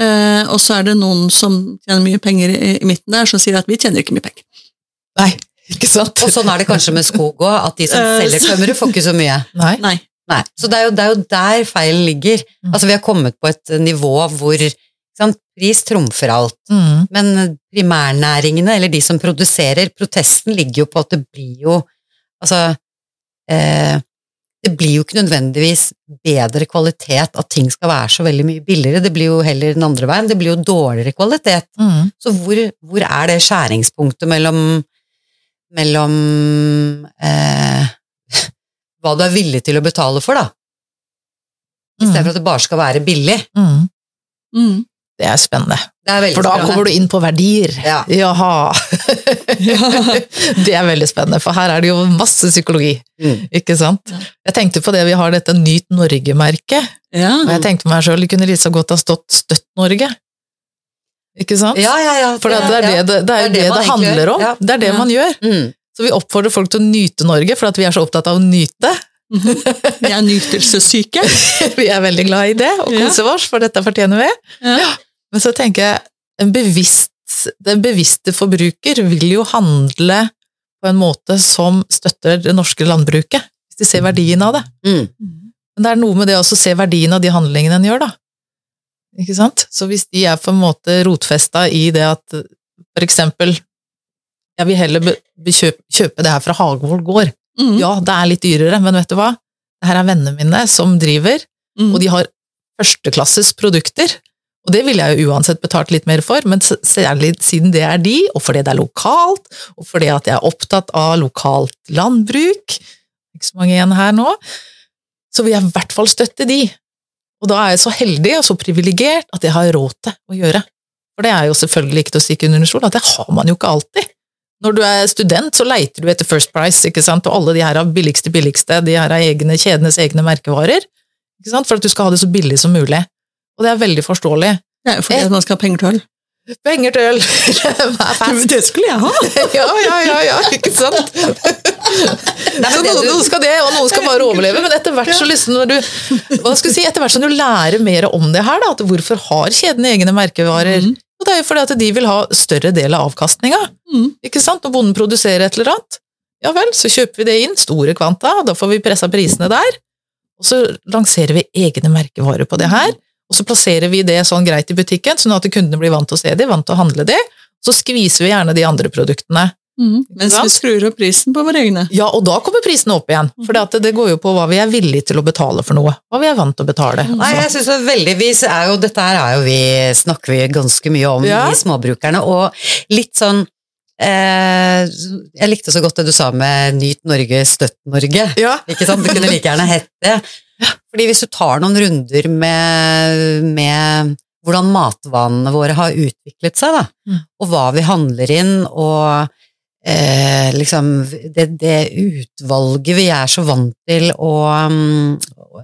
A: Eh, og så er det noen som tjener mye penger i, i midten der, som sier at vi tjener ikke mye penger.
C: Nei, ikke sant?
B: Og sånn er det kanskje med skog òg, at de som
A: Eh,
B: selger
A: så-
B: tømmeret, får ikke så mye.
C: Nei.
A: Nei.
B: Nei. Så det er jo, det er jo der feilen ligger.
C: Mm.
B: Altså, vi har kommet på et nivå hvor ikke sant, pris trumfer alt.
C: Mm,
B: Men primærnæringene, eller de som produserer, protesten ligger jo på at det blir jo Altså eh, Det blir jo ikke nødvendigvis bedre kvalitet at ting skal være så veldig mye billigere. Det blir jo heller den andre veien. Det blir jo dårligere kvalitet.
C: mm.
B: Så hvor, hvor er det skjæringspunktet mellom mellom eh, <laughs> hva du er villig til å betale for, da? I stedet for at det bare skal være billig.
C: Mm.
A: Mm.
C: Det er spennende.
B: Det er veldig
C: For da
B: spennende.
C: kommer du inn på verdier.
B: ja.
C: Jaha. <laughs> det er veldig spennende, for her er det jo masse psykologi,
B: Mm.
C: ikke sant?
A: Ja.
C: Jeg tenkte på det, vi har dette Nyt Norge-merket,
A: Ja.
C: og
B: Mm.
C: jeg tenkte meg selv, det kunne Lisa godt ha stått Støtt Norge. Ikke sant?
B: ja, ja, ja.
C: For det, det, er det, det, det er jo det
B: man
C: det
B: egentlig
C: handler
B: gjør,
C: om.
B: ja.
C: Det er det
A: Ja.
C: man gjør.
B: Mm.
C: Så vi oppfordrer folk til å nyte Norge, for at vi er så opptatt av å nyte. <laughs>
A: Vi er <laughs> nytelsessyke.
C: Vi er veldig glad i det, og
A: Ja.
C: koser oss, for dette fortjener vi.
A: Ja.
C: Men så tenker jeg, en bevisst, den bevisste forbruker vil jo handle på en måte som støtter det norske landbruket, hvis de ser verdien av det.
B: Mm.
C: Men det er noe med det også å se verdien av de handlingene en gjør, da. Ikke sant? Så hvis de er på en måte rotfesta i det at for eksempel jeg vil heller be, be, kjøpe, kjøpe det her fra Hagevold gård.
A: Mm.
C: Ja, det er litt dyrere, men vet du hva? Det her er vennene mine som driver,
A: Mm.
C: og de har førsteklasses produkter. Og det ville jeg jo uansett betalt litt mer for, men s- særlig siden det er de, og fordi det er lokalt, og fordi at jeg er opptatt av lokalt landbruk, ikke så mange igjen her nå, så vil jeg i hvert fall støtte de. Og da er jeg så heldig og så privilegert at jeg har råd til å gjøre. For det er jo selvfølgelig ikke til å stikke under en stol, at det har man jo ikke alltid. Når du er student, så leiter du etter First Price, ikke sant, og alle de her er billigste, billigste, de her er egne, kjedenes egne merkevarer, ikke sant, for at du skal ha det så billig som mulig. Og det er veldig forståelig.
A: Det er jo fordi at man skal ha penger til øl.
C: Penger til øl! <laughs> Vær fast.
A: Det skulle jeg ha!
C: Ja, ja, ja, ja, ikke sant?
B: Nei,
C: Så
B: men det
C: noen,
B: du-
C: noen skal det, og noen skal bare overleve, men etter hvert så liksom når du, hva skal jeg si, etter hvert som du lærer mer om det her, da, at hvorfor har kjedene egne merkevarer?
A: Mhm.
C: Og det er jo fordi at de vil ha større del av avkastninga,
A: Mhm.
C: ikke sant? Når bonden produserer et eller annet, ja vel, så kjøper vi det inn, store kvanta, og da får vi pressa prisene der, og så lanserer vi egne merkevarer på det her, og Og så plasserer vi det sånn greit i butikken, sånn at kundene blir vant til å se de, vant til å handle de. Så skviser vi gjerne de andre produktene.
A: Mhm. Mens vi skrur opp prisen på våre egne.
C: Ja, og da kommer prisene opp igjen. For det, at det går jo på hva vi er villige til å betale for noe. Hva vi er vant til å betale.
A: Mm.
B: Nei, jeg synes det er veldig vi er jo, Dette her er jo vi snakker vi ganske mye om,
C: Ja.
B: vi småbrukerne. Og litt sånn eh, Jeg likte så godt det du sa med 'Nyt Norge, støtt Norge'.
C: Ja,
B: Ikke sant? Det kunne like gjerne hett det. Fordi hvis du tar noen runder med, med hvordan matvanene våre har utviklet seg, da,
C: Mm.
B: og hva vi handler inn, og eh, liksom det, det utvalget vi er så vant til å, um,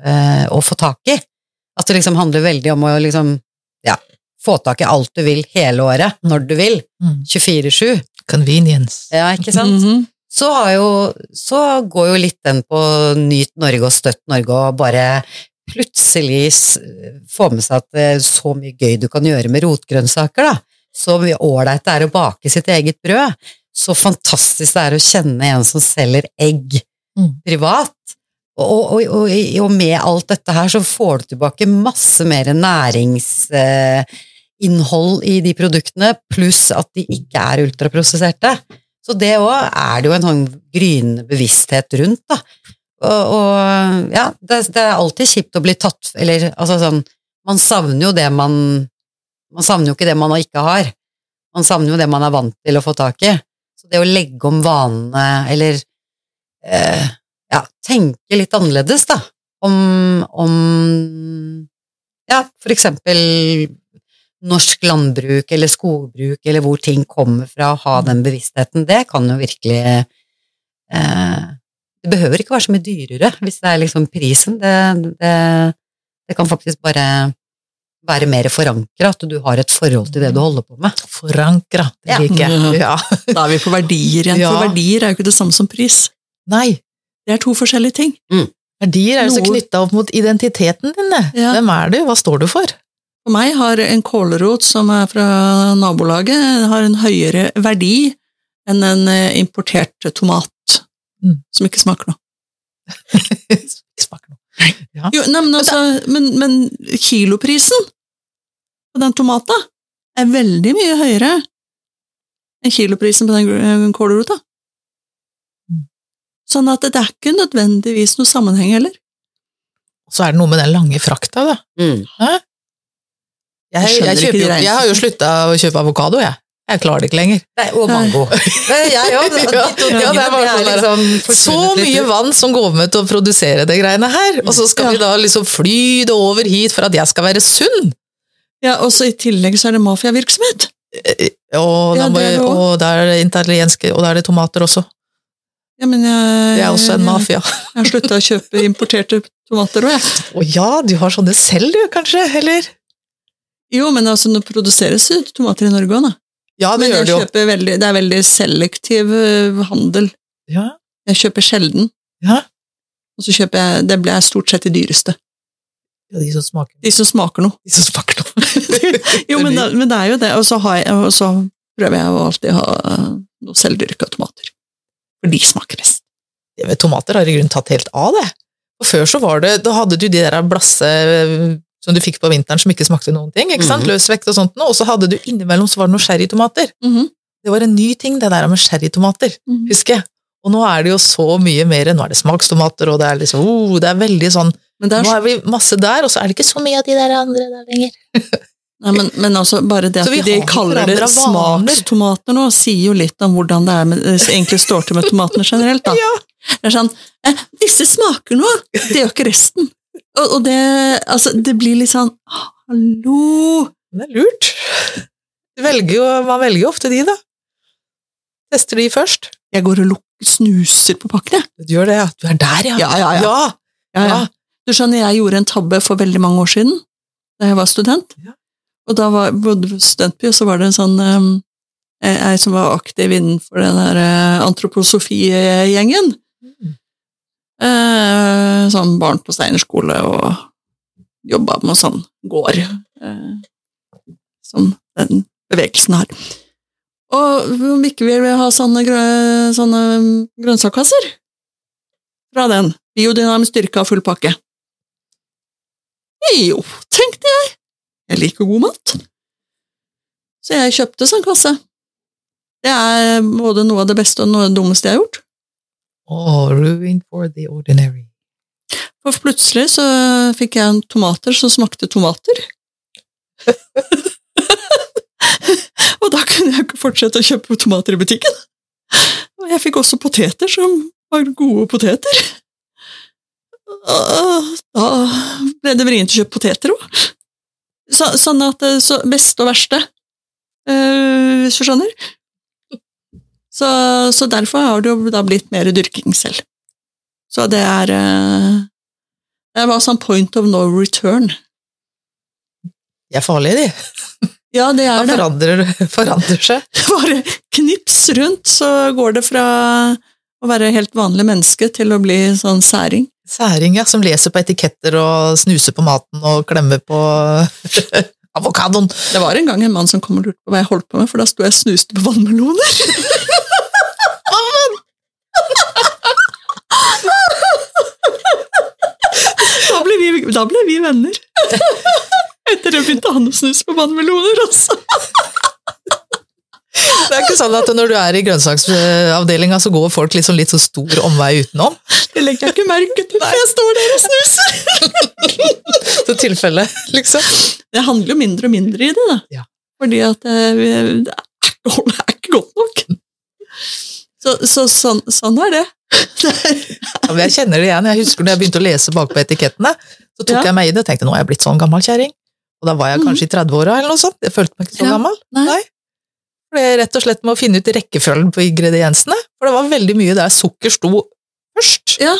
B: eh, å få tak i At det liksom handler veldig om å liksom ja, få tak i alt du vil hele året, når du vil.
C: Mm.
B: 24-7.
C: Convenience.
B: Ja, ikke sant?
A: Mhm.
B: så, har jo, så går jo litt den på nyt Norge og støtt Norge og bare plutselig s- få med seg at det er så mye gøy du kan gjøre med rotgrønnsaker, da. Så mye ålreit det er å bake sitt eget brød. Så fantastisk det er å kjenne en som selger egg
C: Mm.
B: privat. Og, og, og, og med alt dette her så får du tilbake masse mer næringsinnhold i de produktene, pluss at de ikke er ultraprosesserte. Så det òg er det jo en sånn gryende bevissthet rundt, da. Og, og ja, det, det er alltid kjipt å bli tatt Eller altså sånn Man savner jo det man Man savner jo ikke det man ikke har. Man savner jo det man er vant til å få tak i. Så det å legge om vanene, eller eh, ja, tenke litt annerledes, da, om, om ja, for eksempel norsk landbruk eller skogbruk, eller hvor ting kommer fra, å ha den bevisstheten, det kan jo virkelig eh, Det behøver ikke være så mye dyrere hvis det er liksom prisen. Det, det, det kan faktisk bare være mer forankra, at du har et forhold til det du holder på med.
C: Forankra, det
B: Ja.
C: liker jeg. Ja.
A: Da er vi på verdier igjen,
C: Ja.
A: for verdier er jo ikke det samme som pris.
C: Nei,
A: Det er to forskjellige ting.
C: verdier er jo så
A: Noe-
C: knytta opp mot identiteten din. det.
A: Ja.
C: Hvem er du? Hva står du for? <laughs>
A: For meg har en kålrot som er fra nabolaget, har en høyere verdi enn en eh, importert tomat
C: Mm.
A: som ikke smaker noe.
C: Ikke smaker noe.
A: Jo, nei, men, altså, men, men kiloprisen på den tomata er veldig mye høyere enn kiloprisen på den gr- kålrota.
C: Mm.
A: Sånn at det er ikke nødvendigvis noe sammenheng heller.
C: Og så er det noe med den lange frakta, da. Jeg,
A: Jeg
C: jeg,
A: skjønner ikke
C: kjøper, jo-
A: det
C: jeg har jo slutta å kjøpe avokado, jeg. Jeg klarer det ikke lenger.
B: Nei, og mango. Det er <laughs> Jeg òg. De to tingene
C: Ja, det er bare
B: det er
C: sånn der,
B: liksom
C: Så
B: forsvunnet litt
C: mye
B: ut.
C: vann som går med til å produsere det greiene her, og så skal
A: Ja.
C: vi da liksom fly det over hit for at jeg skal være sunn!
A: Ja, og så I tillegg så er det mafiavirksomhet.
C: Og, da
A: Ja,
C: må,
A: det er det
C: jeg- og der er det italienske, og der er det tomater også.
A: Ja, men jeg,
C: Det er også en mafia.
A: Jeg har slutta å kjøpe importerte tomater òg, jeg.
C: <laughs> Å ja, du har sånne selv du, kanskje? Eller?
A: Jo, men altså, det produseres jo tomater i Norge òg, da.
C: Ja,
A: Men
C: det gjør
A: jeg
C: du jo.
A: kjøper veldig, det er veldig selektiv øh, handel.
C: Ja.
A: Jeg kjøper sjelden.
C: Ja.
A: Og så kjøper jeg Det blir stort sett de dyreste.
C: Ja, de som smaker
A: De som smaker noe.
C: De som smaker <laughs> noe.
A: Jo, men, det- men det er jo det. Og så, har jeg, og så prøver jeg å alltid ha øh, noe selvdyrka tomater. For de smaker best.
C: Jeg vet, tomater har i grunnen tatt helt av, det. Og før så var det, da hadde du de der blasse øh, som du fikk på vinteren som ikke smakte noen ting, ikke sant?
B: Mhm.
C: løsvekt og sånt, noe. og så hadde du innimellom så var det noen sherrytomater. Det var en ny ting, det der med sherrytomater,
A: Mhm.
C: husker jeg. Og nå er det jo så mye mer, nå er det smakstomater, og det er liksom, oh, det er veldig sånn,
A: Men, det er,
C: nå
A: så-
C: er vi masse der, og så er det ikke så mye av de der andre der lenger.
A: nei, men, men altså, bare det
C: Så vi
A: at de
C: har
A: kaller det
C: forandret vaner.
A: smakstomater nå, sier jo litt om hvordan det er med, eh, egentlig står til med tomatene generelt. <laughs> da.
C: Ja.
A: Det er sånn eh, Disse smaker noe, det gjør ikke resten. Og, og det, altså, det blir litt sånn Hallo!
C: Det er lurt. Du velger jo, man velger jo ofte de da. Tester de først.
A: Jeg går og luk- snuser på pakken, jeg.
C: Du gjør det, ja. Du er der, ja.
A: Ja, ja, ja.
C: ja.
A: Ja, ja. Du skjønner, jeg gjorde en tabbe for veldig mange år siden, da jeg var student.
C: Ja.
A: Og da var, bodde vi i studentby, og så var det en sånn um, eh, ei som var aktiv innenfor den der eh, antroposofi-gjengen.
C: Mm.
A: Eh, sånn barn på Steiner skole og jobba med sånn gård eh, som den bevegelsen har. Og om ikke vi vil ha sånne, grø sånne mm, grønnsakasser fra den. Biodynamisk styrke av full pakke. Jo, tenkte jeg. Jeg liker god mat. Så jeg kjøpte sånn kasse. Det er både noe av det beste og noe av det dummeste jeg har gjort.
C: Oh, ruin for the ordinary.
A: For plutselig så fikk jeg en tomater som smakte tomater. <laughs> og da kunne jeg ikke fortsette å kjøpe tomater i butikken. Og jeg fikk også poteter som var gode poteter. Og Da ble det vrient å kjøpe poteter òg. Så, sånn at det så beste og verste, eh, hvis du skjønner. Så, så derfor har det jo da blitt mer dyrking selv. Så det er eh, Det var sånn point of no return.
C: De er farlige, de.
A: Ja, det
C: Da
A: er det.
C: forandrer, forandrer seg.
A: <laughs> Bare knips rundt, så går det fra å være helt vanlig menneske til å bli sånn særing.
C: Særinger som leser på etiketter og snuser på maten og klemmer på <laughs> avokadoen.
A: Det var en gang en mann som kom og lurte på hva jeg holdt på med, for da sto jeg og snuste på <laughs> vannmeloner. <laughs> da, ble vi, da ble vi <laughs> venner. Etter det begynte han å snuse på vannmeloner altså. også.
C: Det er ikke sånn at når du er i grønnsaksavdelinga, så går folk liksom litt sånn stor omvei utenom.
A: Det legger jeg ikke merke til, for jeg står der og snuser.
C: Så tilfelle, <laughs> liksom.
A: Det handler jo mindre og mindre i det, da.
C: Ja.
A: Fordi at eh, vi- det er ikke, det er ikke godt nok. Så, så sånn, sånn er det.
C: Ja, men jeg kjenner det igjen. Jeg husker når jeg begynte å lese bakpå etikettene, så tok
A: Ja. Mm.
C: jeg meg i det og tenkte nå er jeg blitt sånn gammel kjerring. Og da var jeg kanskje i 30-åra eller noe sånt. Jeg følte meg ikke så
A: Ja.
C: gammel.
A: Nei.
C: For det er rett og slett med å finne ut rekkefølgen på ingrediensene. For det var veldig mye der sukker sto først.
A: Ja.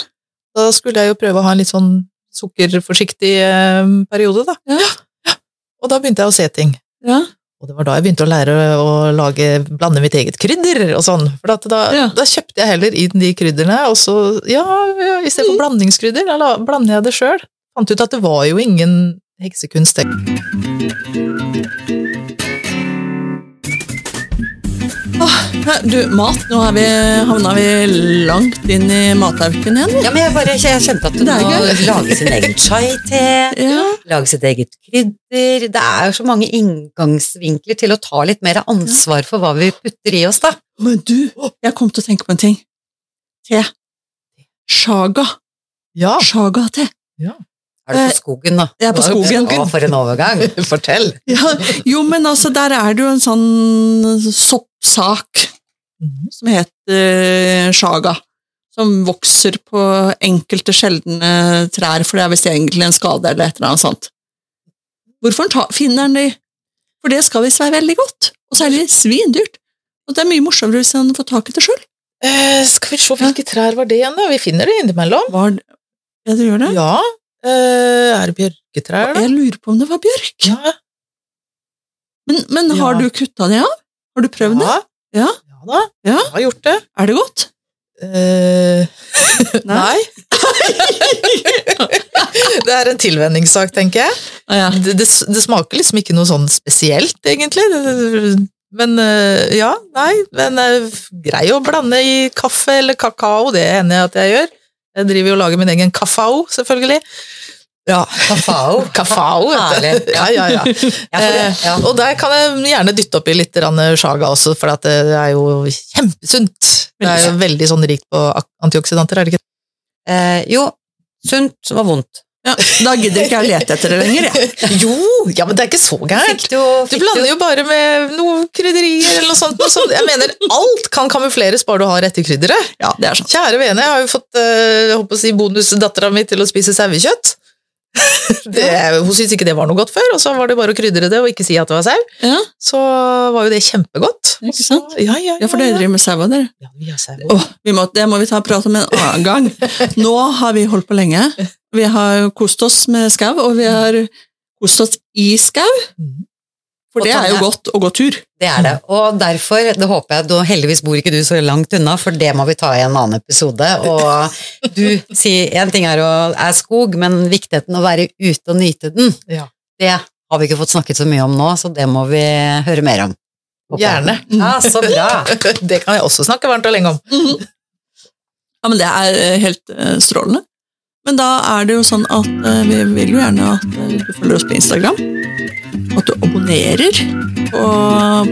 C: Da skulle jeg jo prøve å ha en litt sånn sukkerforsiktig eh, periode, da.
A: Ja.
C: Ja. Og da begynte jeg å se ting.
A: Ja.
C: Og det var da jeg begynte å lære å lage, blande mitt eget krydder og sånn. For at da,
A: Ja.
C: da kjøpte jeg heller inn de krydderne, og så, ja, ja i stedet
A: Mm.
C: for blandingskrydder, da la- blander jeg det sjøl. Fant ut at det var jo ingen heksekunst. det.
A: Nei, Du, mat, nå er vi, havna vi langt inn i mathauken igjen.
B: Ja, men jeg, bare, jeg kjente at
A: Det er
B: må
A: gøy.
B: lage sin egen chai-te,
A: Ja.
B: lage sitt eget krydder Det er jo så mange inngangsvinkler til å ta litt mer ansvar for hva vi putter i oss, da.
A: Men du, jeg kom til å tenke på en ting. Te. Ah. Shaga.
C: Ja,
A: Shaga-te.
B: Er du
C: Eh,
B: på skogen, da?
A: Jeg er på
B: Å,
A: skogen.
B: Å, for en overgang.
C: <laughs> fortell!
A: Ja, jo, men altså, der er det jo en sånn soppsak
C: Mhm.
A: som heter eh, shaga. Som vokser på enkelte sjeldne trær, for det er visst egentlig en skade eller et eller annet sånt. Hvorfor ta, finner han de? For det skal visst være veldig godt, og så er det svindyrt. Og det er mye morsommere hvis han får tak i det sjøl.
C: Eh, skal vi se hvilke trær var det igjen, da? Vi finner det innimellom.
A: Ja, du gjør det?
C: Ja. Eh, er det bjørketrær, da?
A: Jeg lurer på om det var bjørk.
C: Ja.
A: Men, men har
C: Ja.
A: du kutta det av? Har du prøvd det?
C: Ja.
A: Ja.
C: ja da.
A: Ja.
C: Jeg har gjort det.
A: Er det godt?
C: Eh, <laughs> nei. <laughs> det er en tilvenningssak, tenker jeg.
A: Ah, ja.
C: Det, det, det smaker liksom ikke noe sånn spesielt, egentlig. Det- Men eh, ja, nei. Men eh, grei å blande i kaffe eller kakao, det hender jeg at jeg gjør. Jeg driver jo og lager min egen kafao, selvfølgelig. Ja,
B: Kafao.
C: <laughs> kafao, vet
B: Herlig.
C: du. Ja, ja,
B: Ja,
C: ja.
B: for det, ja.
C: Eh, Og der kan jeg gjerne dytte oppi litt grann shaga også, for at det er jo kjempesunt. Det er jo veldig sånn rikt på ak- antioksidanter, er det ikke?
B: Eh, jo, sunt var vondt.
A: Ja, da gidder ikke jeg å lete etter det lenger, jeg.
C: Jo, ja, men det er ikke så gærent.
B: Fikk du,
C: Du
B: fikk
C: blander jo bare med noen krydderier eller noe sånt. noe sånt. Jeg mener, alt kan kamufleres bare du har rette krydderet.
A: Ja, det er sant.
C: Kjære vene, jeg har jo fått eh, jeg håper å si, bonusdattera mi til å spise sauekjøtt. <laughs> Det, hun syntes ikke det var noe godt før, og så var det bare å krydre det og ikke si at det var sau.
A: Ja,
C: Så var jo det kjempegodt.
A: Ikke sant?
C: Ja, ja, ja,
A: ja for dere
C: ja.
A: driver med saua, dere?
C: Ja, vi har sau. <laughs>
A: Åh, vi må, det må vi ta og prate om en annen gang. Nå har vi holdt på lenge. Vi har kost oss med skau, og vi har kost oss i skau.
C: Mhm.
A: For det er jo godt å gå tur.
B: Det er det. Og derfor, det håper jeg, da heldigvis bor ikke du så langt unna, for det må vi ta i en annen episode. Og du sier En ting er, å, er skog, men viktigheten å være ute og nyte den,
C: Ja.
B: det har vi ikke fått snakket så mye om nå, så det må vi høre mer om. Håper jeg.
C: Gjerne.
B: Ja, så bra.
C: Det kan jeg også snakke varmt og lenge om.
A: Ja, men det er eh, helt eh, strålende. Men da er det jo sånn at eh, vi vil jo gjerne at eh, du følger oss på Instagram. at du abonnerer på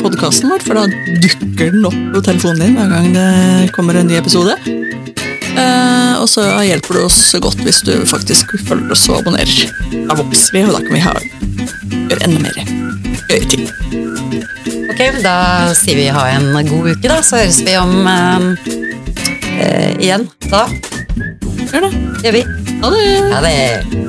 A: podkasten vår, for da dukker den opp på telefonen din hver gang det kommer en ny episode. Eh, og så hjelper du oss godt hvis du faktisk følger oss og abonnerer. Da vokser vi, og da kan vi ha, gjøre enda mer gøye ting.
B: Ok, da sier vi ha en god uke, da. Så høres vi om eh, eh, igjen da.
A: Gjør det.
B: Gjør vi.
A: Ha det!
B: Ha det.